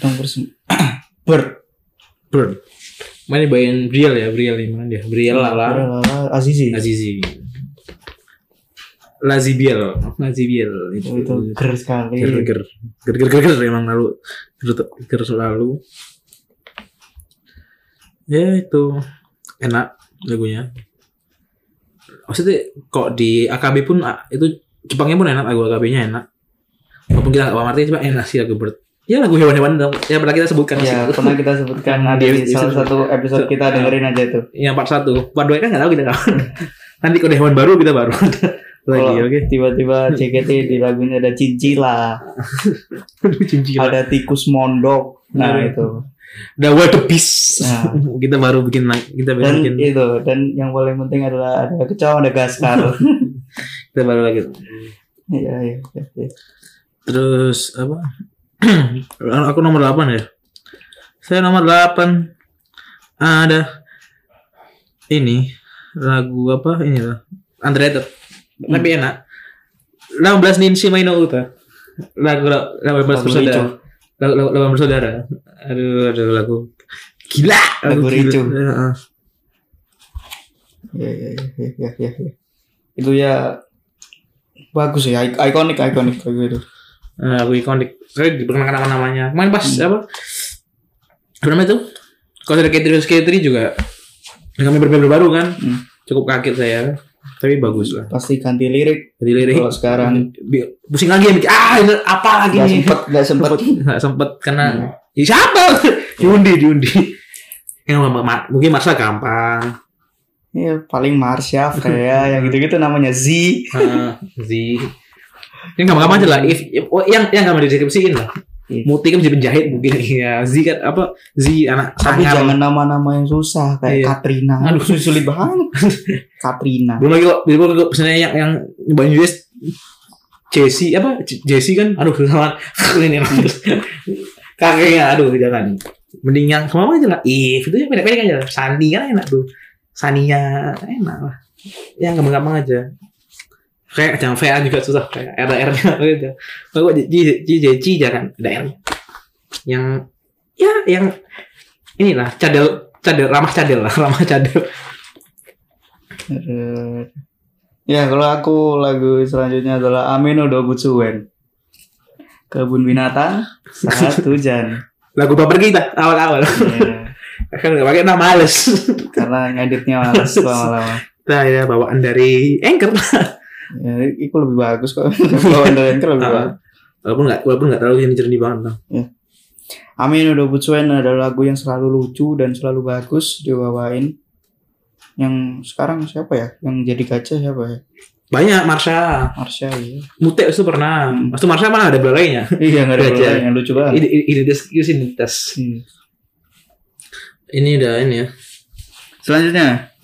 Nomor sembilan Bird. Burn. Mana bagian Briel ya, Briel nih mana dia? Briel Lala, Lala Azizi. Azizi. Oh, Lazibiel, Lazibiel itu. Oh, itu ger sekali. Ger ger ger ger ger ger emang lalu ger ger selalu. Ya itu enak lagunya. Maksudnya kok di AKB pun ah, itu Jepangnya pun enak lagu AKB-nya enak. Walaupun kita nggak paham artinya cuma enak sih lagu ber. Ya lagu hewan-hewan dong. yang pernah kita sebutkan di Ya, situ. pernah kita sebutkan ada di Di- di- salah satu episode kita dengerin aja itu. yang part satu part dua kan nggak tahu kita nggak nanti kalau ada hewan baru kita baru Lagi Kalau oke. Tiba-tiba JKT di lagunya ada cincila, Aduh, cincin. ada tikus mondok. Nah, Bener. itu. The World of Peace. Nah. kita baru bikin lang- kita baru Dan bikin itu dan yang paling penting adalah ada kecoa ada gaskar. kita baru lagi. Iya, iya. iya. Terus apa? aku nomor 8 ya. Saya nomor 8. Ada ini lagu apa ini lah. Underrated. Hmm. Tapi enak. 18 Ninshi Maino Uta. Lagu la- 18 Lagu bersaudara. Ricu. Lagu lagu- 18 bersaudara. Aduh, aduh lagu. Gila, Lagu gila. Ricu. Heeh. Iya, iya, iya, iya, iya, iya. Itu ya bagus ya, ik- ikonik, ikonik gitu. lagu itu. Eh, lagu ikonik. Saya diperkenalkan nama namanya. Main pas Hmm. apa? Apa namanya tuh? Kalau ada Katri Katri juga kami berbeda baru kan. Hmm. Cukup kaget saya. Tapi bagus lah. Pasti ganti lirik Jadi lirik Iya. kalau sekarang bi- pusing lagi mikir ah ini apa lagi nggak nih? sempet, Hmm. nggak sempet. Nggak sempet karena Ya, siapa? diundi diundi. Yang ma- ma- mungkin masa gampang. Iya, paling Marsha, Freya, yang gitu-gitu namanya Z. Eh, Zi. Yang gampang-gampang aja lah. If, if- oh, yang yang gampang dideskripsiin lah. Iya. Muti kan bisa penjahit mungkin ya. Zi kan apa? Zi anak Tapi sangar. jangan nama-nama yang susah kayak Iya. Katrina. Aduh. Aduh, sulit banget. Katrina. belum lagi kok belum lagi kok pesannya yang yang banyak US Jesse apa J- Jesse kan aduh susah banget ini emang. kakeknya aduh jangan mending yang kemana aja lah if itu yang pendek-pendek aja lah Sandi kan enak tuh Saninya enak lah yang gampang-gampang aja kayak jangan VA juga susah kayak ada R nya gitu kalau J J J J jangan ada R -nya. yang ya yang inilah cadel cadel ramah cadel lah ramah cadel Terus- Ya, kalau aku lagu selanjutnya adalah Amino Dobutsuwen. Kebun binatang saat hujan. lagu baper kita awal-awal Iya. kan nggak pakai nama males karena ngeditnya males lama-lama. nah ya bawaan dari anchor Ya, itu lebih bagus kok. Bawaan dari Anchor lebih Ah, bagus. walaupun nggak walaupun nggak terlalu jernih jernih banget lah Amin udah Bucuen adalah lagu yang selalu lucu dan selalu bagus dibawain. Yang sekarang siapa ya? Yang jadi gajah siapa ya? banyak Marsha Marsha ya. Mute itu pernah Hmm. Waktu Marsha mana ada belalainya Iya nggak ada Gajah. gajah yang lucu banget. ide ide- ide diskusi ini tes Hmm. ini udah ini ya Selanjutnya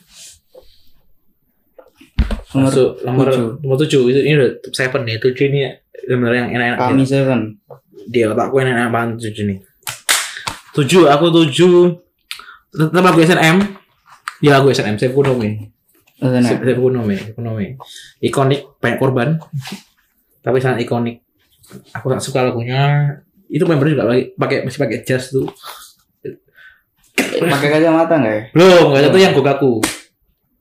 nomor masuk nomor tujuh. nomor tujuh itu ini udah top seven nih tujuh ini benar yang enak-enak aja. kami Seven. di otakku yang enak banget tujuh nih tujuh aku tujuh tetap lagu SNM ya lagu SNM saya kuno nih Nah, Sep- Sepak Kuno, Mei. Kuno, Mei. Ikonik, banyak korban. Tapi sangat ikonik. Aku sangat suka lagunya. Itu member juga lagi pakai masih pakai jas tuh. pakai kacamata nggak ya? Belum, enggak itu yang Gokaku.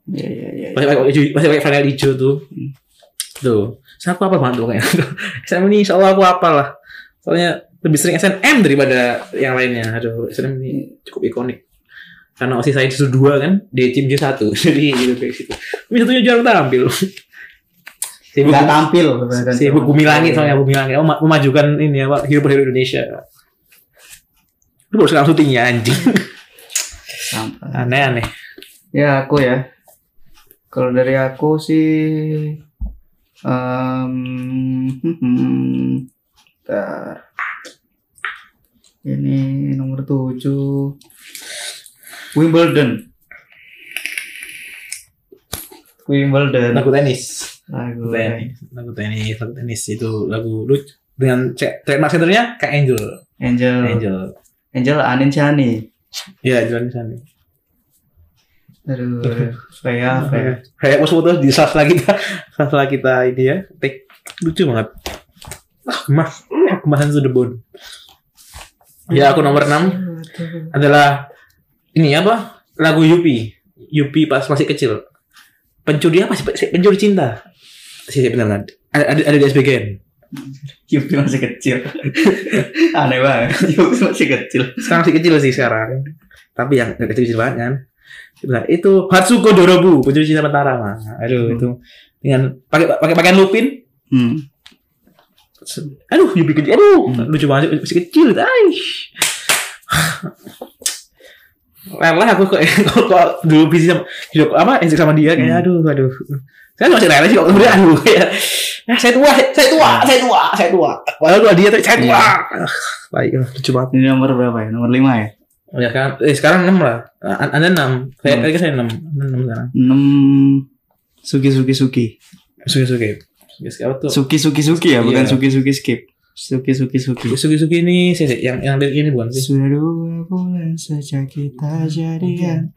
Iya iya iya. Masih pakai baju- masih pakai flanel hijau tuh. Hmm. Tuh. Saya aku apa banget tuh kayaknya. SNM ini insya Allah aku apa lah. Soalnya lebih sering SNM daripada yang lainnya. Aduh, SNM ini cukup ikonik. Karena osis saya itu dua kan, di tim J satu, jadi gitu kayak situ. Tapi satunya jarang tampil. Sibuk Nggak tampil. si Bu Bumi Langit soalnya Bumi Langit Mema- memajukan ini apa hidup hidup Indonesia itu baru sekarang syutingnya anjing Sampah. aneh aneh Ya aku ya. Kalau dari aku sih, em, bentar. ini nomor tujuh Wimbledon. Wimbledon. lagu tenis lagu Lagu ya. tenis lagu tenis lagu tenis itu lagu lucu dengan cek trademark centernya kayak Angel Angel. Angel Angel Anin Shani. ya Angel di sana Aduh, Ah, Freya, Freya. kayak pas foto di sastra kita sastra kita ini ya take lucu banget ah gemas Ah, gemasan to the bone ya aku nomor 6 adalah ini apa lagu Yupi Yupi pas masih kecil pencuri apa sih pencuri cinta sih benar kan ada ada, ada di SBGN Yupi masih kecil. Aneh banget. Yupi masih kecil. sekarang masih kecil sih sekarang tapi yang nggak kecil kecil banget kan nah, itu Hatsuko Dorobu pencuri cinta mentara mah aduh Hmm. itu dengan pakai pakai pakaian Lupin Hmm. aduh Yupi kecil aduh Hmm. lucu banget masih kecil tai Rela aku kok kok- kok dulu busy sama hidup apa insik sama dia kayak aduh aduh. Saya masih rela sih kok kemudian aduh kayak "Ah, saya tua, saya tua, saya tua, saya tua. Padahal tua dia tapi saya tua. Ah, Baik, ah, lucu banget. Ini nomor berapa ya? Nomor 5 ya? Ya kan, eh sekarang 6 lah. A- Anda 6. Saya Hmm. tadi kan saya 6. 6 sekarang. 6 Suki Suki Suki. Suki Suki. Suki apa tuh? Suki Suki Suki ya, bukan Iya. Suki Suki Skip. Suki Suki Suki. Suki Suki ini sih sih, yang yang lirik ini bukan sih. Sudah dua bulan sejak kita jadian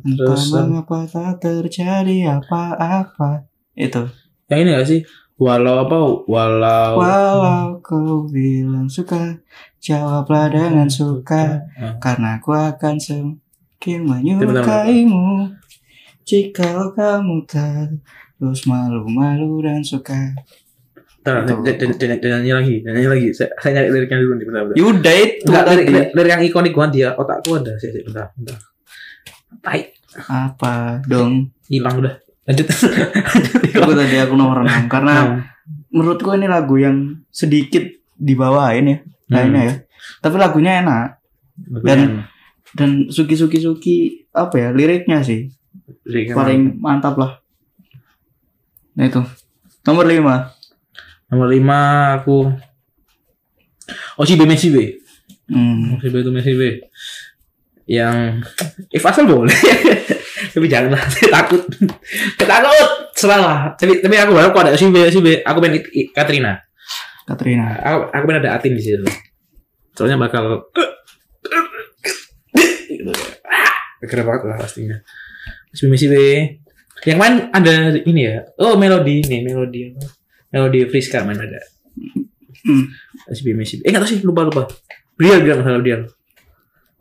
Entah Terus um, mengapa tak terjadi apa-apa Itu yang Ya, ini gak sih? Walau apa? Walau Walau kau bilang suka Jawablah dengan suka Hmm. Karena aku akan semakin menyukaimu Jikalau kamu terus malu-malu dan suka Bentar, Betul. dan- dan- dan- dan nyanyi lagi, dan nyanyi lagi. Saya, saya nyari liriknya dulu nih, bentar, bentar. Yaudah Ya itu Enggak, lirik, tadi lirik, lirik yang ikonik banget dia, otakku ada, sih, sih, bentar, bentar. Tai, Apa dong hilang udah. Lanjut. Lanjut, hilang. Itu tadi aku nomor 6 Karena Hmm. menurutku ini lagu yang sedikit dibawain ya hmm. kayaknya ya tapi lagunya enak Dan- dan suki suki suki apa ya liriknya sih Liriknya paling mantap lah nah itu nomor lima nomor lima aku Oh, Oshi B Messi B. hmm. Messi B itu Messi B. Yang if asal boleh. tapi jangan lah, saya takut. Saya takut. Serah lah. Tapi tapi aku harap kalau ada Oshi B, Oshi B, aku main I- I- Katrina. Katrina aku, aku pengen ada Atin di situ. Soalnya bakal gitu. Keren banget lah pastinya. Terus Mimisi B. Yang main ada ini ya. Oh, melodi ini, melodi apa? Melodi Friska main ada. Hmm. Terus Mimisi B. Eh, enggak tahu sih, lupa lupa. Real bilang salah dia.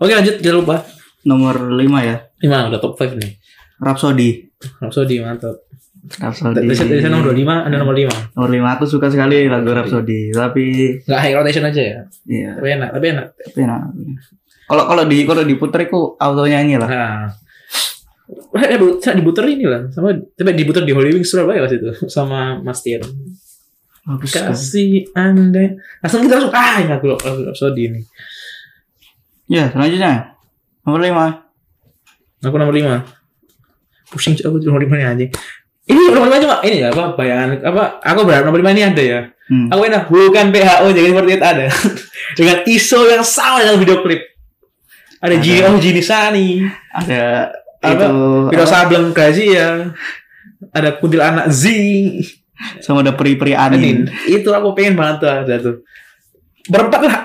Oke, lanjut jangan lupa. nomor lima ya Lima udah top 5 nih. Rhapsody Rhapsody mantap. Rhapsody Dari dari saya nomor 25, ada nomor 5. nomor lima aku suka sekali lagu Rhapsody tapi Enggak high rotation aja ya. ya Tapi enak, tapi enak. tapi enak kalau kalau di kalau diputer aku auto nyanyi lah Nah. Wah, eh, bu- saya diputer ini lah sama tapi diputer di Holy Wings Surabaya waktu itu sama Mas Tian. bagus sekali. Kasih Anda. Langsung kita langsung ah ini aku loh, aku episode ini. ya selanjutnya nomor lima Aku nomor 5. Pusing aku di nomor 5 nih anjing. Ini nomor 5 cuma ini ya apa bayangan apa aku berharap nomor 5 ini ada ya. Hmm. Aku enak bukan PHO jadi seperti itu ada. Dengan ISO yang sama dalam video klip. Ada Ada. Gini Oh Gini Sani. ada Apa? itu Piro Sableng Grazia. Ada Kuntilanak Z. sama ada peri-peri anin. Anin. Itu aku pengen banget tuh ada tuh. Berempat lah.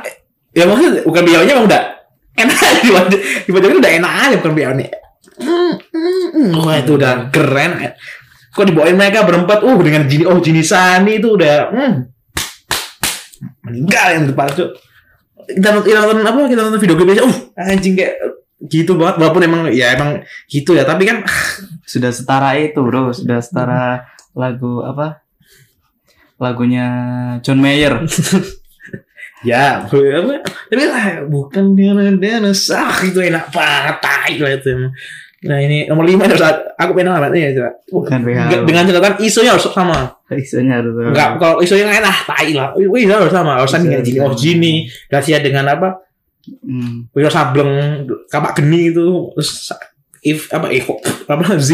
Ya maksudnya bukan biawanya emang udah enak di wajah. Di wajah kan udah enak aja bukan biawanya. Mm, mm, mm. Wah itu udah keren. Kok dibawain mereka berempat, uh dengan jini oh jini sani itu udah mm. meninggal yang depan tuh. Kita nonton, kita nonton apa? Kita nonton video game aja. Uh anjing kayak gitu banget. Walaupun emang ya emang gitu ya. Tapi kan Sudah setara itu, Bro. Sudah setara lagu apa? Lagunya John Mayer. Ya, boleh apa? Tapi lah, bukan dana dana sah itu enak banget tai lah itu. emang. Nah ini nomor lima harus ada- aku pengen alamatnya ya coba. Bukan Hmm. Dengan- PH. Dengan catatan ISO-nya harus sama. Isunya harus Enggak, kalau ISO-nya nggak enak, tai lah. Wih, harus sama. Harus ISO dengan harus Jini Oh sama. Jini, Gracia dengan apa? Hmm. Wiro Sableng, Kabak Geni itu, terus if apa eh kok- apa Z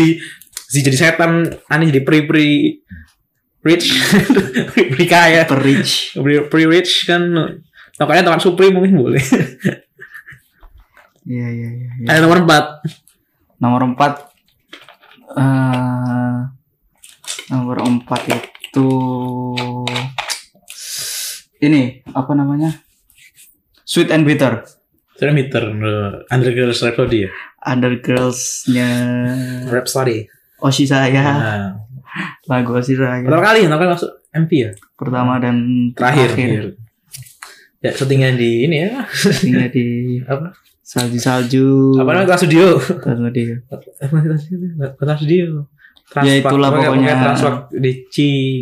Z jadi setan, aneh jadi pri-pri rich, pri-pri kaya. Perich. Pre- Pre-rich kan Tokonya teman Supri mungkin boleh Iya, iya, iya. iya. Ada Eh, nomor 4 Nomor 4 eh nomor 4 itu ini apa namanya? Sweet and Bitter. Sudah meter eh, Underground Rhapsody ya Under Girls-nya Rhapsody Oshi saya, nah, lagu Oshi saya. Pertama kali Pertama kali masuk MP ya pertama dan Terakhir, Ya syutingnya di ini ya Ini di Apa? salju-salju Apa namanya Trans Studio Terus di Apa namanya Trans Studio? Nggak, Trans Studio Trans Ya, itulah Park. Pokoknya- pokoknya. pokoknya Trans Park di C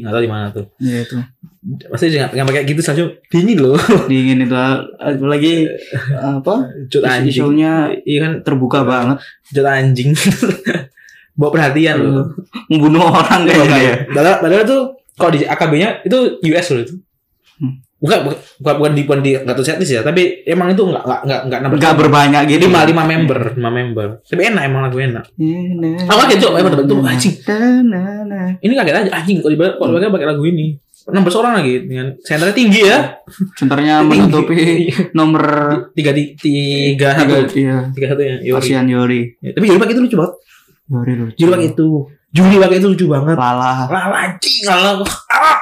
Gak tau di mana tuh ya itu Pasti jangan, jangan pakai gitu Salju Dingin loh dingin itu Aku lagi apa Cut anjing show-nya Iya kan terbuka banget Cut anjing Bawa perhatian loh Iya, membunuh orang kayaknya ya Padahal, padahal tuh kalau di AKB-nya itu US loh itu. Hmm. bukan bukan- bukan bukan di bukan di nggak tuh setlist ya tapi emang itu nggak nggak nggak nggak nambah Gak berbanyak gitu. lima lima member lima member tapi enak emang lagu enak aku kaget cok emang dapat tuh Eh, anjing ini kaget aja anjing kalau dibalik kalau dibalik pakai lagu ini 16 orang lagi dengan senternya tinggi ya Senternya Nah, menutupi Iya. nomor tiga ti- tiga tiga satu iya. tiga satu ya Yori Kasihan Yori. Ya, tapi Yori pakai itu lucu banget Yori lucu. Juli pakai itu Juli pakai itu lucu banget Lala. lah anjing lah ah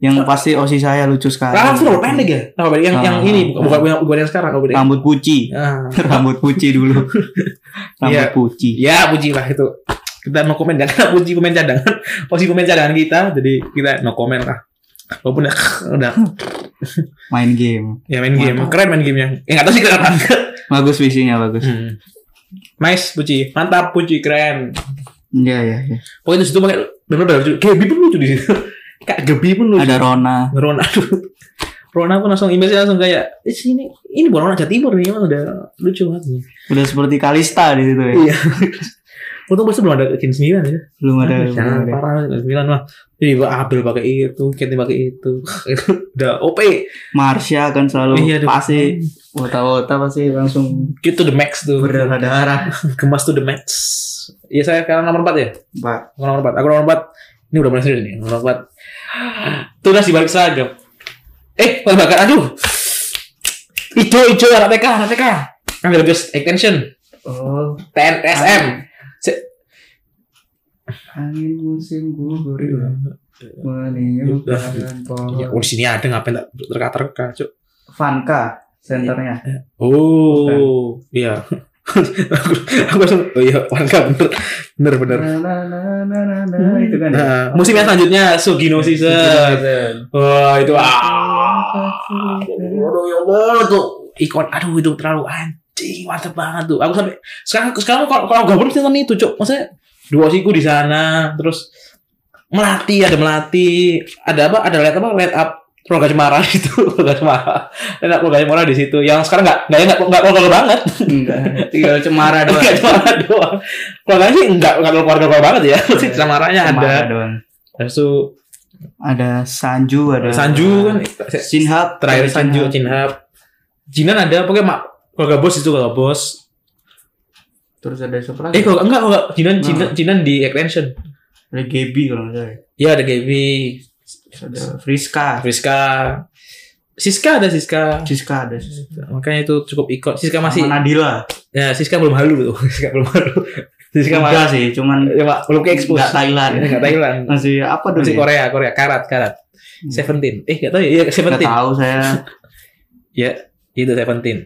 Yang pasti osi saya lucu sekali. Lala tuh rambut pendek ya? Rambut pendek yang yang Ah. ini bukan bukan, bukan yang sekarang rambut pendek. Rambut puci. Ah. Rambut puci dulu. Rambut Iya. puci. Ya puji lah itu. Kita no comment gak karena puji pemain cadangan. Posisi pemain cadangan kita jadi kita no comment lah. Walaupun udah, udah Main game. ya main game keren main gamenya. Ya nggak tahu sih keren apa enggak. Hmm. Bagus visinya bagus. Nice puji, mantap puji keren. Iya iya iya. Pokoknya di situ pakai benar-benar lucu. Gaby pun lucu di situ. Kak Gaby pun lucu. Ada Rona. Rona aduh. Rona pun langsung image langsung kayak "Ih, ini ini bukan orang Jawa Timur nih emang udah lucu banget. Udah seperti Kalista di situ ya. Iya. Untung pasti belum ada Gen 9 ya. Belum ada. Aduh, belum jangan ada. parah Gen 9 mah. Jadi gua Abel pakai itu, Kenny pakai itu. Itu udah OP. Marsha kan selalu Iya, aduh. pasti wota-wota pasti langsung Gitu the max tuh. berdarah-darah. Gemas tuh the max. Iya saya sekarang nomor 4 ya. Pak. Aku nomor 4. Aku nomor 4. Ini udah mulai serius nih. Nomor 4. Tunas di balik seragam. Eh, bahan bakar. Aduh. Ijo, ijo, anak TK, anak TK. Ambil guys, attention. Oh, TNSM. angin musim gugur Iya. meniupkan Ya, pohon. oh, di sini ada ngapain tak terka-terka, Cuk. Vanka senternya. Oh, iya. aku, aku langsung, oh iya, warga bener, bener, bener. Na, na, na, na, na, na, itu kan. ya. Nah, musim yang selanjutnya Iya, Sugino season. Wah, itu ah. Aduh, ya Allah, tuh ikon. Aduh, itu terlalu anjing, mantep banget tuh. Aku sampai sekarang sekarang kalau kalau gabut mesti nonton itu, Cuk. Maksudnya dua siku di sana, terus melati ada melati, ada apa? Ada lihat apa? Lihat up Roga Cemara itu, Roga Cemara. Lihat up Roga Cemara di situ. Yang sekarang enggak enggak enggak enggak banget. Enggak, tinggal cemara doang. Enggak cuma doang. Keluarganya sih enggak enggak terlalu keluarga keluarga banget ya. Mesti samaranya ada. Cemara doang. Terus tuh Ada Sanju, ada Sanju kan Sinhab, terakhir ada Sanju Cinhap. Jinan ada pokoknya mak keluarga bos itu keluarga bos. Terus ada siapa Eh lagi? kalau enggak enggak Jinan Nah. Jinan Jinan di extension. Ada GB kalau nggak salah. ya. Iya ada Gaby, Terus Ada Friska, Friska, Siska ada Siska. Siska ada. Makanya itu cukup ikon. Siska masih Sama Nadila. ya Siska belum halu tuh. Siska belum halu. Siska masih Enggak sih, cuman ya, Pak, belum ke expose. nggak Thailand. Enggak Thailand. Masih apa dulu? Masih ya? Korea, Korea, karat, karat. Hmm. Seventeen. Eh, gak tau ya, iya Nggak Seventeen. tahu saya. Ya, itu Seventeen.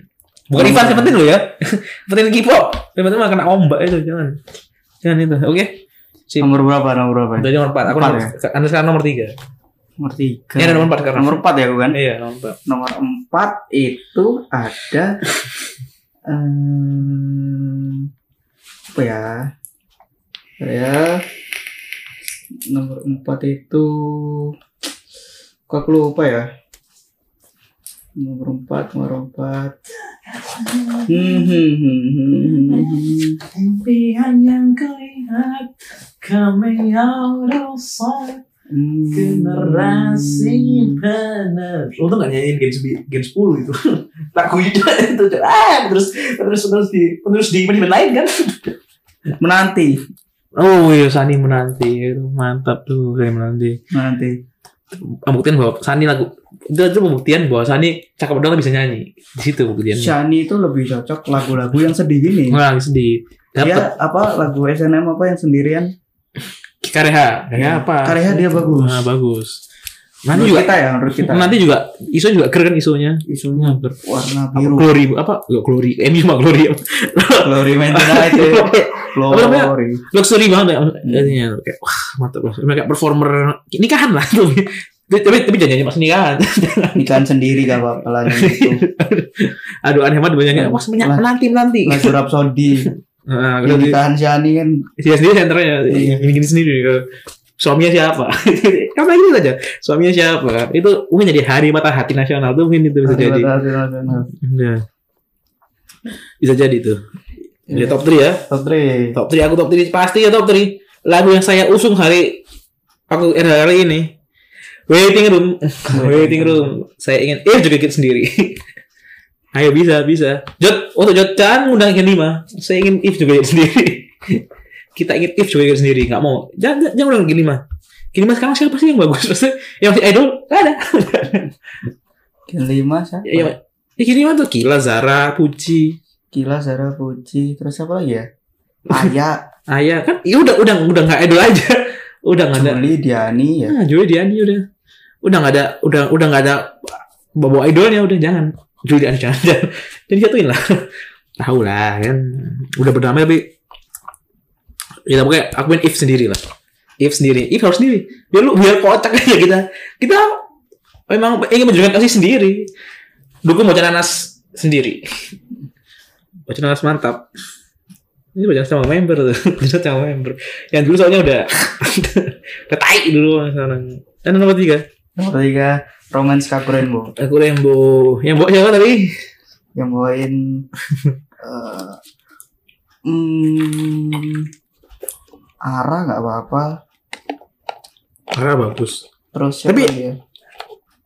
Bukan Ivan Seventeen lo ya. Seventeen K-pop. Seventeen malah kena ombak itu, jangan. Jangan itu. Oke. Nomor berapa? Nomor berapa? Dari nomor 4. Aku Empat nomor, Anda sekarang nomor 3. Nomor tiga. Ya, ada nomor 4 sekarang. Nomor empat ya, bukan? Iya, nomor 4. Nomor empat itu ada em, apa ya? Saya nomor empat itu kok aku lupa ya? Nomor empat, nomor empat. Hmm, hmm, hmm, hmm, hmm, hmm. Impian yang kulihat coming out of sight Hmm. generasi penerus. Untung gak nyanyiin Gen, sebi- gen 10 itu. Lagu itu itu ah, terus terus terus di terus di manajemen lain kan. menanti, Oh, iya Sani menanti. Mantap tuh Sani menanti. menanti. Pembuktian bahwa Sani lagu itu, itu pembuktian bahwa Sani cakep doang tapi bisa nyanyi. Di situ pembuktian. Shani itu lebih cocok lagu-lagu yang sedih gini. Orang sedih. Dapat Dia Iya, apa lagu SNM apa yang sendirian? Kareha. Kareha apa? Iya. Kareha dia bagus. Nah, bagus. Nanti Menurut juga kita ya menurut kita. nanti juga isu juga keren isunya. Isunya Isunya ber- warna apa biru. glory apa Nggak, glory eh, ini mah glory Glory Man United. Glory. luxury banget ya artinya kayak wah mantap lah kayak performer nikahan lah tuh tapi tapi jangan nyanyi pas nikahan Nikahan sendiri gak apa-apa lah yang gitu. aduh aneh banget banyaknya wah semenyak Iya. Lah. menanti menanti Lagu Rhapsody. nah, Yang glory. nikahan Shani kan dia sendiri senternya Iya. gini gini sendiri eh, suaminya siapa apa gitu saja suaminya siapa itu mungkin jadi hari mata hati nasional tuh mungkin itu bisa jadi lagu-lagu nasional. Iya. bisa jadi tuh Dia Iya. top 3 ya Top three. top 3 aku top 3 pasti ya top 3 lagu yang saya usung eh, hari aku era hari ini Waiting room, waiting room. Saya ingin eh juga kita sendiri. Ayo bisa bisa. Jod, waktu Jod Chan undang yang lima. Saya ingin if juga Gigit sendiri. kita ingin if juga Gigit sendiri. Nggak mau. Jangan jangan undang yang lima. Yang lima sekarang siapa sih yang bagus? Maksudnya yang masih idol? Nggak ada. Kelima siapa? Ya, ya, ya, yang lima tuh Kila, Zara, Puji, Gila Zara Puji terus apa lagi ya? Aya, Aya kan? Ya udah udah udah nggak idol aja. Udah nggak ada. Juli, Diani ya. Nah, Juli Diani udah udah nggak ada udah udah nggak ada bawa idolnya udah jangan Juli Diani jangan jangan jadi jatuhin lah tahu lah kan udah berdamai tapi ya tapi kayak akuin if sendiri lah if sendiri if harus sendiri biar lu biar kocak aja kita kita memang ingin menunjukkan kasih sendiri dukung bacaan nanas sendiri bacaan nanas mantap ini bacaan sama member tuh bacaan sama member yang dulu soalnya udah udah tai dulu sekarang dan nomor tiga Nomor tiga Romance Kakuren Bu aku rainbow yang bawa siapa tadi yang bawain eh hmm, Ara nggak apa-apa. Ara bagus Terus siapa Tapi- lagi ya?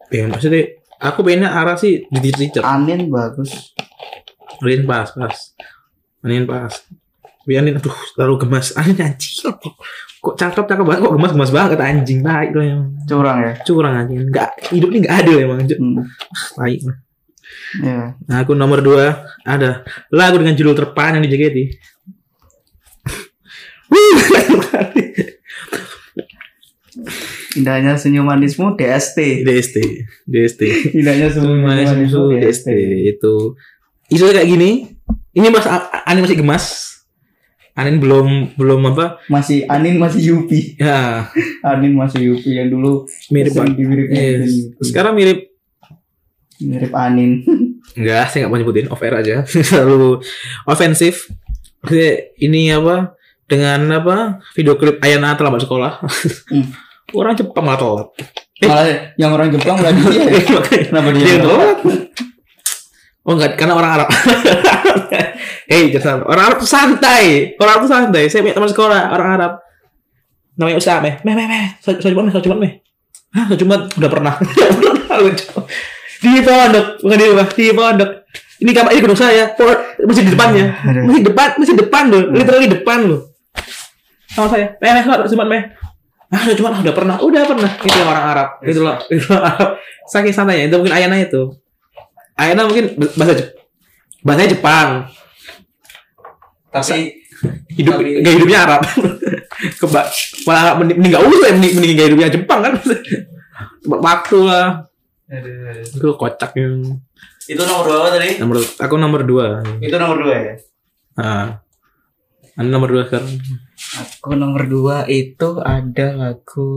ya maksudnya aku pengennya Ara sih di teacher teacher Anin bagus. Anin pas pas Anin pas tapi Anin aduh terlalu gemas Anin anjing kok cakep cakep banget kok gemas gemas banget anjing baik lo yang Curang ya. curang anjing nggak hidup ini nggak adil emang Hmm. baik Ya. Nah, aku nomor dua ada lagu dengan judul terpanjang di JKT. Wuh, Indahnya senyum manismu DST. DST, DST. Indahnya senyum Semuanya manismu susu DST ya, itu. Isunya kayak gini. Ini mas, Anin masih gemas. Anin belum belum apa? Masih Anin masih Yupi. Ya, Anin masih Yupi yang dulu mirip. sering dimiripin Yes. Yupi. Sekarang mirip mirip Anin. Enggak, saya nggak mau nyebutin off air aja. Terlalu ofensif. Jadi, Ini apa? Dengan apa? Video klip Ayana terlambat sekolah. Hmm. Orang Jepang malah telat. Malah yang orang Jepang lagi dia. ya. Makanya. Kenapa Eh. dia? Dia yang telat. telat? Oh enggak, karena orang Arab. Hei, jangan Orang Arab tuh santai. Orang Arab tuh santai. Saya punya teman sekolah orang Arab. Namanya Usama. Meh, meh, meh, meh. Saya cuma meh, saya cuma meh. Hah, saya cuma udah pernah. Udah pernah lucu. Di pondok, bukan di rumah, di pondok. Ini kamar ini gedung saya. Pondok masih di depannya. Aduh. Masih depan, masih depan loh. Literally depan loh. Sama saya. Meh, meh, saya cuma meh. Ah, udah cuma udah pernah, udah pernah. Itu yang orang Arab. Itu loh, itu orang Arab. Saking santainya itu mungkin Ayana itu. Ayana mungkin bahasa Jep- bahasa Jepang. Tapi Hidup Tapi- gaya hidupnya Arab. Keba malah Arab mending mending nggak usah ya, mending, mending gaya hidupnya Jepang kan. Tempat waktu lah. Itu kocak yang itu nomor dua apa tadi? nomor aku nomor dua. Itu nomor dua ya. Ah. Anda nomor dua kan? sekarang. Aku nomor dua itu ada lagu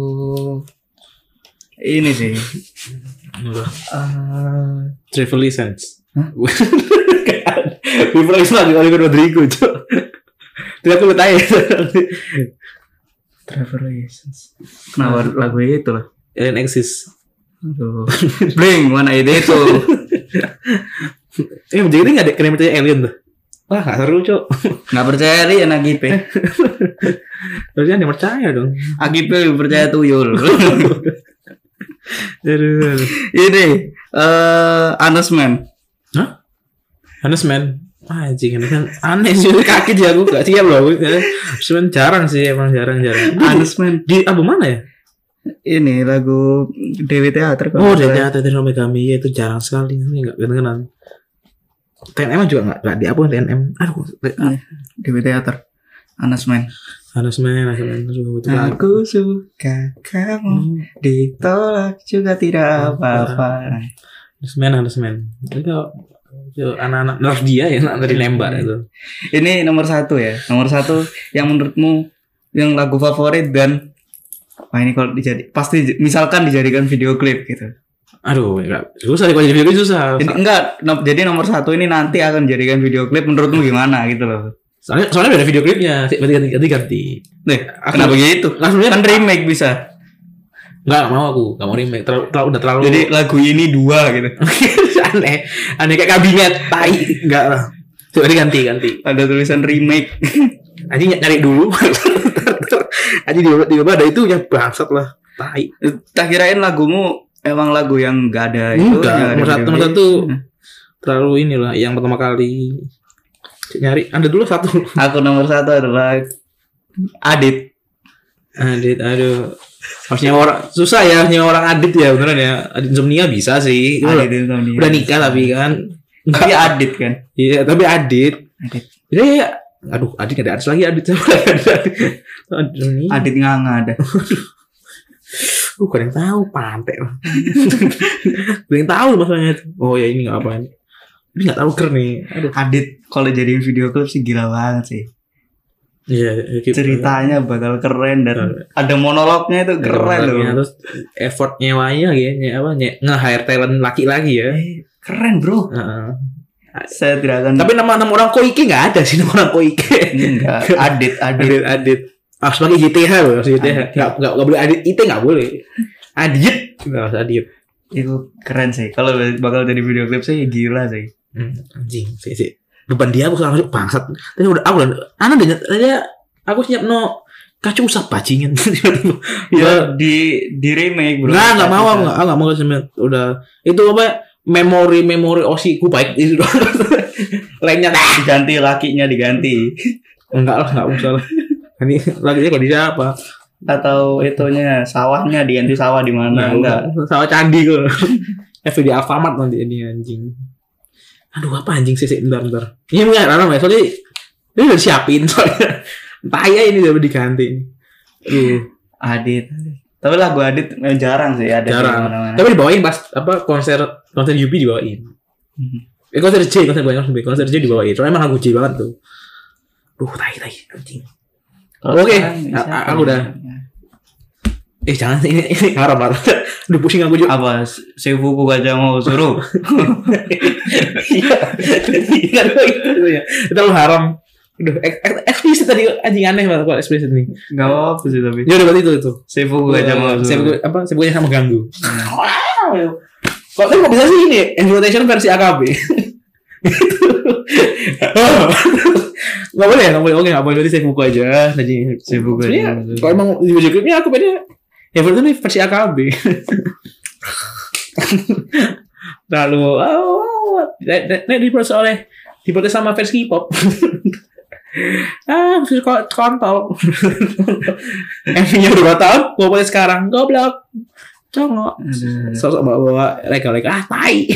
ini sih. Nomor dua. Eh, Trevor Lisense. Hah? Trevor Lisense lagi Oliver Rodrigo, Cok. Tidak aku bertanya. Trevor License. Kenapa lagu itu lah? Alien Exist. Aduh. Bling, mana ide itu? Eh, jadi ini nggak ada kena percaya alien tuh. Wah, nggak seru, Cok. Nggak percaya li anak IPE. Harusnya ada yang percaya dong. Akip lebih percaya tuyul. Aduh. ini eh announcement. Hah? Honest man. Wah, anjing ini kan aneh sih kaget ya aku gak siap loh. Cuman jarang sih emang jarang-jarang. Di- Announcement. Di album mana ya? Ini lagu Dewi Teater Oh, kalau nggak dari salah. Tete no Megami ya, itu jarang sekali. Ini nggak kenal-kenal. TNM juga nggak nggak dihapus TNM. Aduh, Dewi Teater. Announcement. Honest man, honest man. Aduh, itu lagu. Aku suka kamu ditolak juga tidak apa-apa. Honest man, honest man. Itu itu anak-anak nerf dia ya, anak dari Lembak itu. Ini nomor satu ya. Nomor satu yang menurutmu yang lagu favorit dan Wah ini kalau dijadi pasti j- misalkan dijadikan video klip gitu. Aduh, enggak. Susah deh kalau jadi video ini susah. Jadi enggak no- jadi nomor satu ini nanti akan dijadikan video klip menurutmu gimana gitu loh. Soalnya soalnya udah ada video klipnya. Ganti ganti ganti. ganti. Nih, kenapa gitu? Langsung aja Kan remake bisa. enggak mau aku, enggak mau remake. Terlalu, terlalu udah terlalu Jadi lagu ini dua gitu. aneh. Aneh kayak kabinet tai. Enggak lah. Coba diganti ganti. Ada tulisan remake. Anjing ny- nyari dulu. Anjing di di ada itu yang bangsat lah. tai Tak kirain lagumu emang lagu yang gak ada Nah, itu. yang gitu. enggak ada nomor satu nomor video-nya. satu terlalu inilah yang pertama kali nyari ada dulu satu Aku nomor satu adalah Adit. Adit aduh harusnya orang susah ya harusnya orang Adit ya beneran ya Adit Insomnia bisa sih Itu Adit Insomnia. udah nikah tapi kan Tapi Adit kan. iya tapi Adit Adit, Iya, iya. Aduh, Adit ada Adit lagi, Adit siapa lagi Adit? Adit. Aduh, ini. Adit nganga ada. Aduh, gak ada yang tahu, pantek lah. gak ada yang tahu masalahnya itu. Oh ya ini gak apa ini. Ini gak tahu ker nih. Aduh. Adit kalau jadiin video klip sih gila banget sih. Iya, iya, gitu. Ceritanya bakal keren dan Iya. ada monolognya itu Ada keren orangnya, loh. nah, Terus effort nyewanya lagi ya, nye- apa nye- nge-hire talent laki-lagi ya. Eh, Keren bro. Heeh. Saya tidak akan. Tapi nama nama orang Koike nggak ada sih nama orang Koike. enggak. Adit, Adit. Adit, Adit. Ah, sebagai JTH loh, harus JTH. Nggak, nggak, nggak boleh Adit, IT nggak boleh. Adit, nggak usah Adit. Itu keren sih. Kalau bakal jadi video klip sih gila sih. Hmm, anjing sih sih beban dia aku sekarang bangsat tapi udah aku udah anak udah nyet- tadi aku siap no kacau usap bajingan ya Ya di di remake bro. nggak nggak mau aku nggak aku nggak mau semen udah itu apa memori memori osi ku baik itu doang. lainnya nah. Diganti lakinya diganti enggak lah enggak usah lah ini lagunya kalau di siapa atau itunya sawahnya diganti sawah di mana Nah, enggak. Iya, sama candi gue FVD Eh, Alfamart nanti ini anjing aduh apa anjing sih sih bentar bentar ini enggak rana ya soalnya ini udah siapin soalnya Taya ini udah diganti Iya. Aduh, Adit. Tapi lagu Adit eh, jarang sih ada di jarang mana-mana. tapi dibawain pas apa konser konser UB dibawain Mhm. eh konser J konser bukan konser B konser J dibawain soalnya emang lagu J banget tuh Duh, tai, tai, anjing. Kalau Oke, sekarang, a- siapa a- aku yang- udah. Eh, jangan sih, ini, ini, haram, haram. Udah pusing aku juga. apa Seifuku gajah mau suruh Iya, Ingat gua itu ya. Itu lu haram. Aduh, ek- ek- eksplisit tadi anjing aneh banget kalau eksplisit nih. nggak apa sih tapi Ya udah berarti itu itu. Seifuku gajah mau Saya suruh buku- apa? Saya bukannya sama ganggu. Wow. Kok tapi kok bisa sih ini invitation versi AKB? Itu. Nggak boleh ya, nggak boleh. Oke, nggak boleh. Berarti saya buku aja. Jadi Saya buku aja. Sebenarnya, Kalau emang di video klipnya aku beda. Ya berarti ini versi AKB. Lalu, oh, oh, ini diprotes oleh diprotes sama versi K-pop. ah, versi ko- kontol. MV-nya udah dua tahun, gue boleh sekarang. Goblok. Congok. Aduh. Sosok bawa-bawa reka-reka. Ah, tai.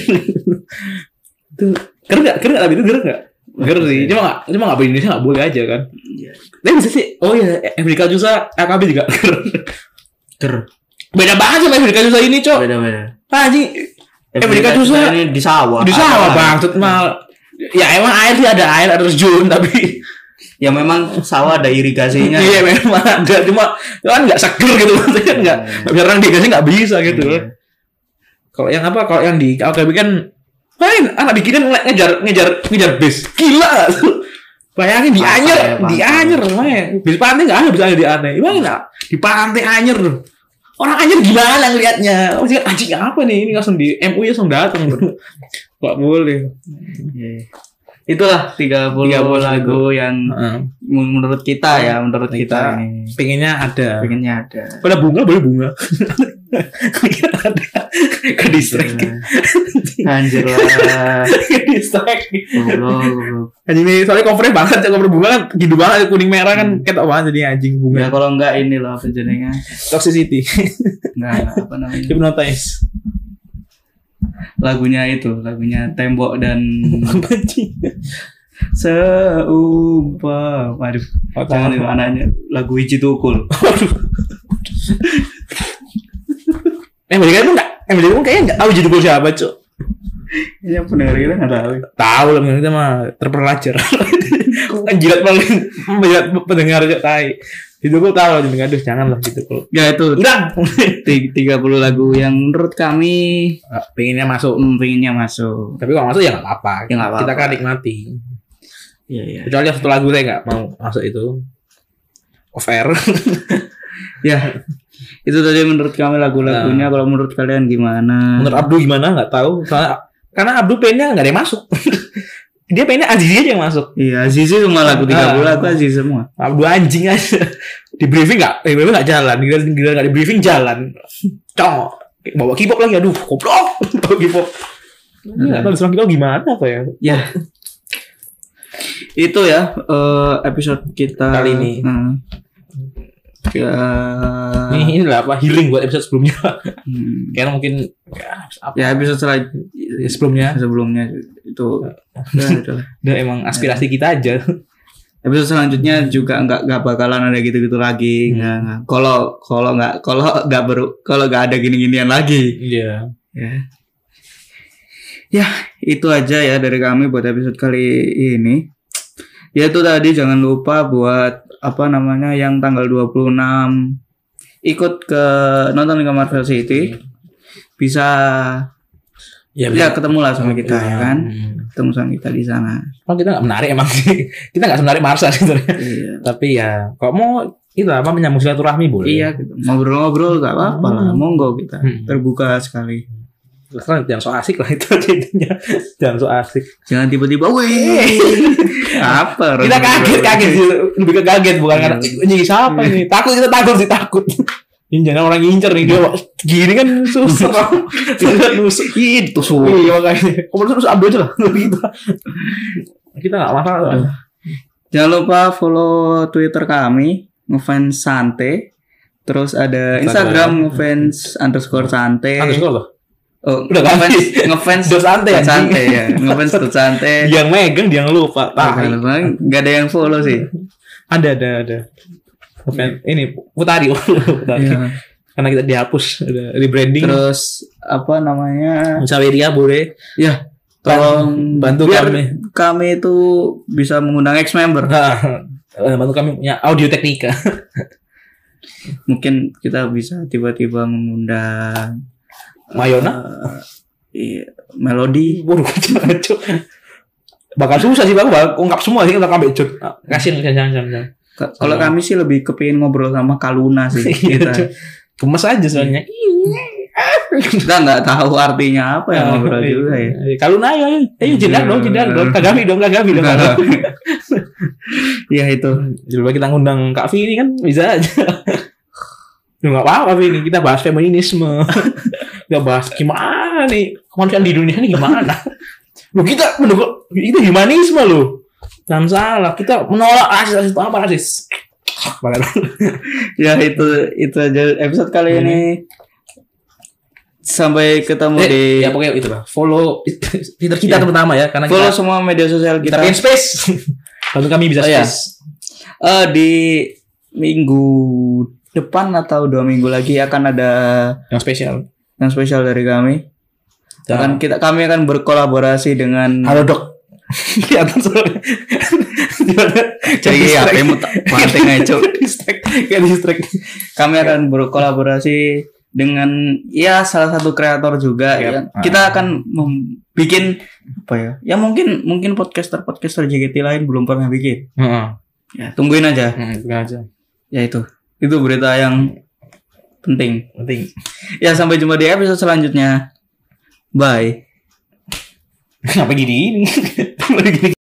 Itu Keren gak? Keren gak? Tapi itu keren gak? Keren sih. Cuma gak, cuma gak di Indonesia gak boleh aja kan. Iya. Tapi bisa sih. Oh iya, Afrika Jusa, AKB juga keren. ter Beda banget sama Afrika Jusa ini, Cok. beda beda Ah, anjing. Afrika Jusa ini di sawah di sawah, Bang. Ada- Mal. Ya emang air sih ada air, ada terjun, tapi ya memang sawah ada irigasinya Iya memang ada cuma kan nggak seger gitu maksudnya nggak nggak bisa orang dikasih nggak bisa gitu. Iya. Kalau yang apa kalau yang di KKB kan main anak bikinan nge- ngejar ngejar ngejar bis gila bayangin di Pantai, anyer di pantai. anyer main bis pantai nggak ada bis anyer di aneh bayangin lah di pantai anyer orang anyer gimana ngelihatnya maksudnya anjing apa nih ini langsung di MUI langsung datang nggak boleh Iya. itulah 30, 30 lagu yang Heeh. menurut kita ya menurut Kita. kita, ini pengennya ada pengennya ada pada bunga boleh bunga ada ke distract anjir lah ke distract Goblok, goblok. anjing ini soalnya covernya banget ya, cover bunga kan gitu banget kuning merah kan ketok banget jadi anjing Hmm. bunga ya kalau enggak inilah penjenengan toxicity enggak apa namanya hypnotize lagunya itu lagunya tembok dan anjing seumpam aduh Oh, jangan tahu. itu anaknya lagu hiji tukul eh mereka emang nggak eh mereka emang kayaknya nggak tahu jadi siapa cuk ya pendengar kita nggak tahu tahu lah kita mah terpelajar Kan jilat paling jilat pendengar cuk tai itu gue tahu jadi aduh jangan lah gitu kalau ya itu udah tiga puluh lagu yang menurut kami pengennya masuk hmm, pengennya masuk tapi kalau masuk ya nggak apa-apa Ya, nggak apa-apa. kita kan nikmati ya ya kecuali yang satu lagu saya nggak mau masuk itu off air ya itu tadi menurut kami lagu-lagunya kalau menurut kalian gimana menurut Abdu gimana nggak tahu soalnya karena Abdu pengennya nggak ada yang masuk dia pengennya Azizi aja yang masuk Iya, Azizi semua lagu Ah. 30 lagu Azizi semua. Ah, dua anjing aja di briefing nggak eh, briefing nggak jalan gila gila nggak di briefing jalan cong bawa kipok lagi aduh goblok bawa kipok Gila, Hmm. tahu semakin tahu gimana apa ya Ya. Itu ya eh, episode kita Kali ini. Hmm. Ya. ini inilah apa healing buat episode sebelumnya Hmm. karena mungkin ya, apa Ya episode selan- ya, sebelumnya sebelumnya itu ya, itulah. dan emang aspirasi kita aja episode selanjutnya juga nggak nggak bakalan ada gitu-gitu lagi Hmm. Nggak, nggak. kalau kalau nggak kalau nggak baru kalau nggak ada gini-ginian lagi iya ya ya itu aja ya dari kami buat episode kali ini ya itu tadi jangan lupa buat apa namanya yang tanggal 26 ikut ke nonton di kamar Versi City bisa ya, ya ketemu lah sama kita ya kan Hmm. ketemu sama kita di sana Emang kita nggak menarik emang sih. kita nggak menarik Marsa sebenarnya iya tapi ya kalau mau itu apa menyambung silaturahmi boleh Iya, gitu. ngobrol-ngobrol gak apa-apa lah, monggo kita Hmm. terbuka sekali. Karena jangan so asik lah itu aja intinya. jangan so asik Jangan tiba-tiba, weh, apa? Eh. kita kaget kaget sih lebih ke kaget bukan karena Iya. ini siapa ini takut kita takut sih takut ini jangan orang ngincer nih dia gini kan susah Kita nusuk Itu sulit. iya makanya kamu terus ambil aja lah gitu kita nggak masalah Aduh. Jangan lupa follow Twitter kami, ngefans sante. Terus ada Instagram ngefans underscore sante. underscore loh Oh, Udah ngefans, ganti. ngefans Dot sante, dot anjing. sante ya, ngefans dot sante. dia yang megang dia yang lupa Gak Tahi. gak ada yang follow sih. ada ada ada Fan- ini putari putari Iya. karena kita dihapus ada rebranding Terus apa namanya? Musawiria boleh Ya, tolong Bantu biar kami. Kami itu bisa mengundang ex member. Eh, bantu kami punya audio teknika Mungkin kita bisa tiba-tiba mengundang Mayona eh, iya, Melody. Waduh, jangan cok. Bakal susah sih, bakal bakal ungkap semua sih kalau kambek cok. Kasian, kasian, kasian, kasian. Ka- Kalau kami sih lebih kepingin ngobrol sama Kaluna sih. Iya, kita. Cuk. Gemes aja soalnya. kita nggak tahu Iya. artinya apa ya Ah, ngobrol juga ya. Kalau nah, ayo, ayo, ayo jendak dong, jendak dong, kagami dong, kagami dong. Iya itu. Jadi bagi kita ngundang Kak Vi ini kan bisa aja. Lu nggak apa-apa Vi ini kita bahas feminisme. kita bahas gimana nih kemanusiaan di dunia ini gimana? Lu kita mendukung kita humanisme lo. Jangan salah, kita menolak rasis rasis apa rasis. Banget. Ya itu itu aja episode kali ini. Sampai ketemu Iya. Eh, di ya pokoknya itu lah. Follow Twitter kita Ya. terutama ya karena follow kita, semua media sosial kita kita. pengen space. Bantu kami bisa Oh, iya. space. Eh, di minggu depan atau dua minggu lagi akan ada Yang spesial. yang spesial dari kami. Akan kita kami akan berkolaborasi dengan Halo dok. Kelihatan soalnya. Iya, Gimana? Jadi Distract. HP mu tak- panting aja, Cuk. Distract. Kayak distract. kami akan berkolaborasi dengan ya salah satu kreator juga. Yap. yang- kita akan membuat Ah. apa ya? Ya mungkin mungkin podcaster podcaster JKT lain belum pernah bikin. Heeh. Ya, tungguin aja. Nah, aja. Ya itu itu berita yang penting. Penting. Ya sampai jumpa di episode selanjutnya. Bye. Kenapa gini ini? Kenapa gini?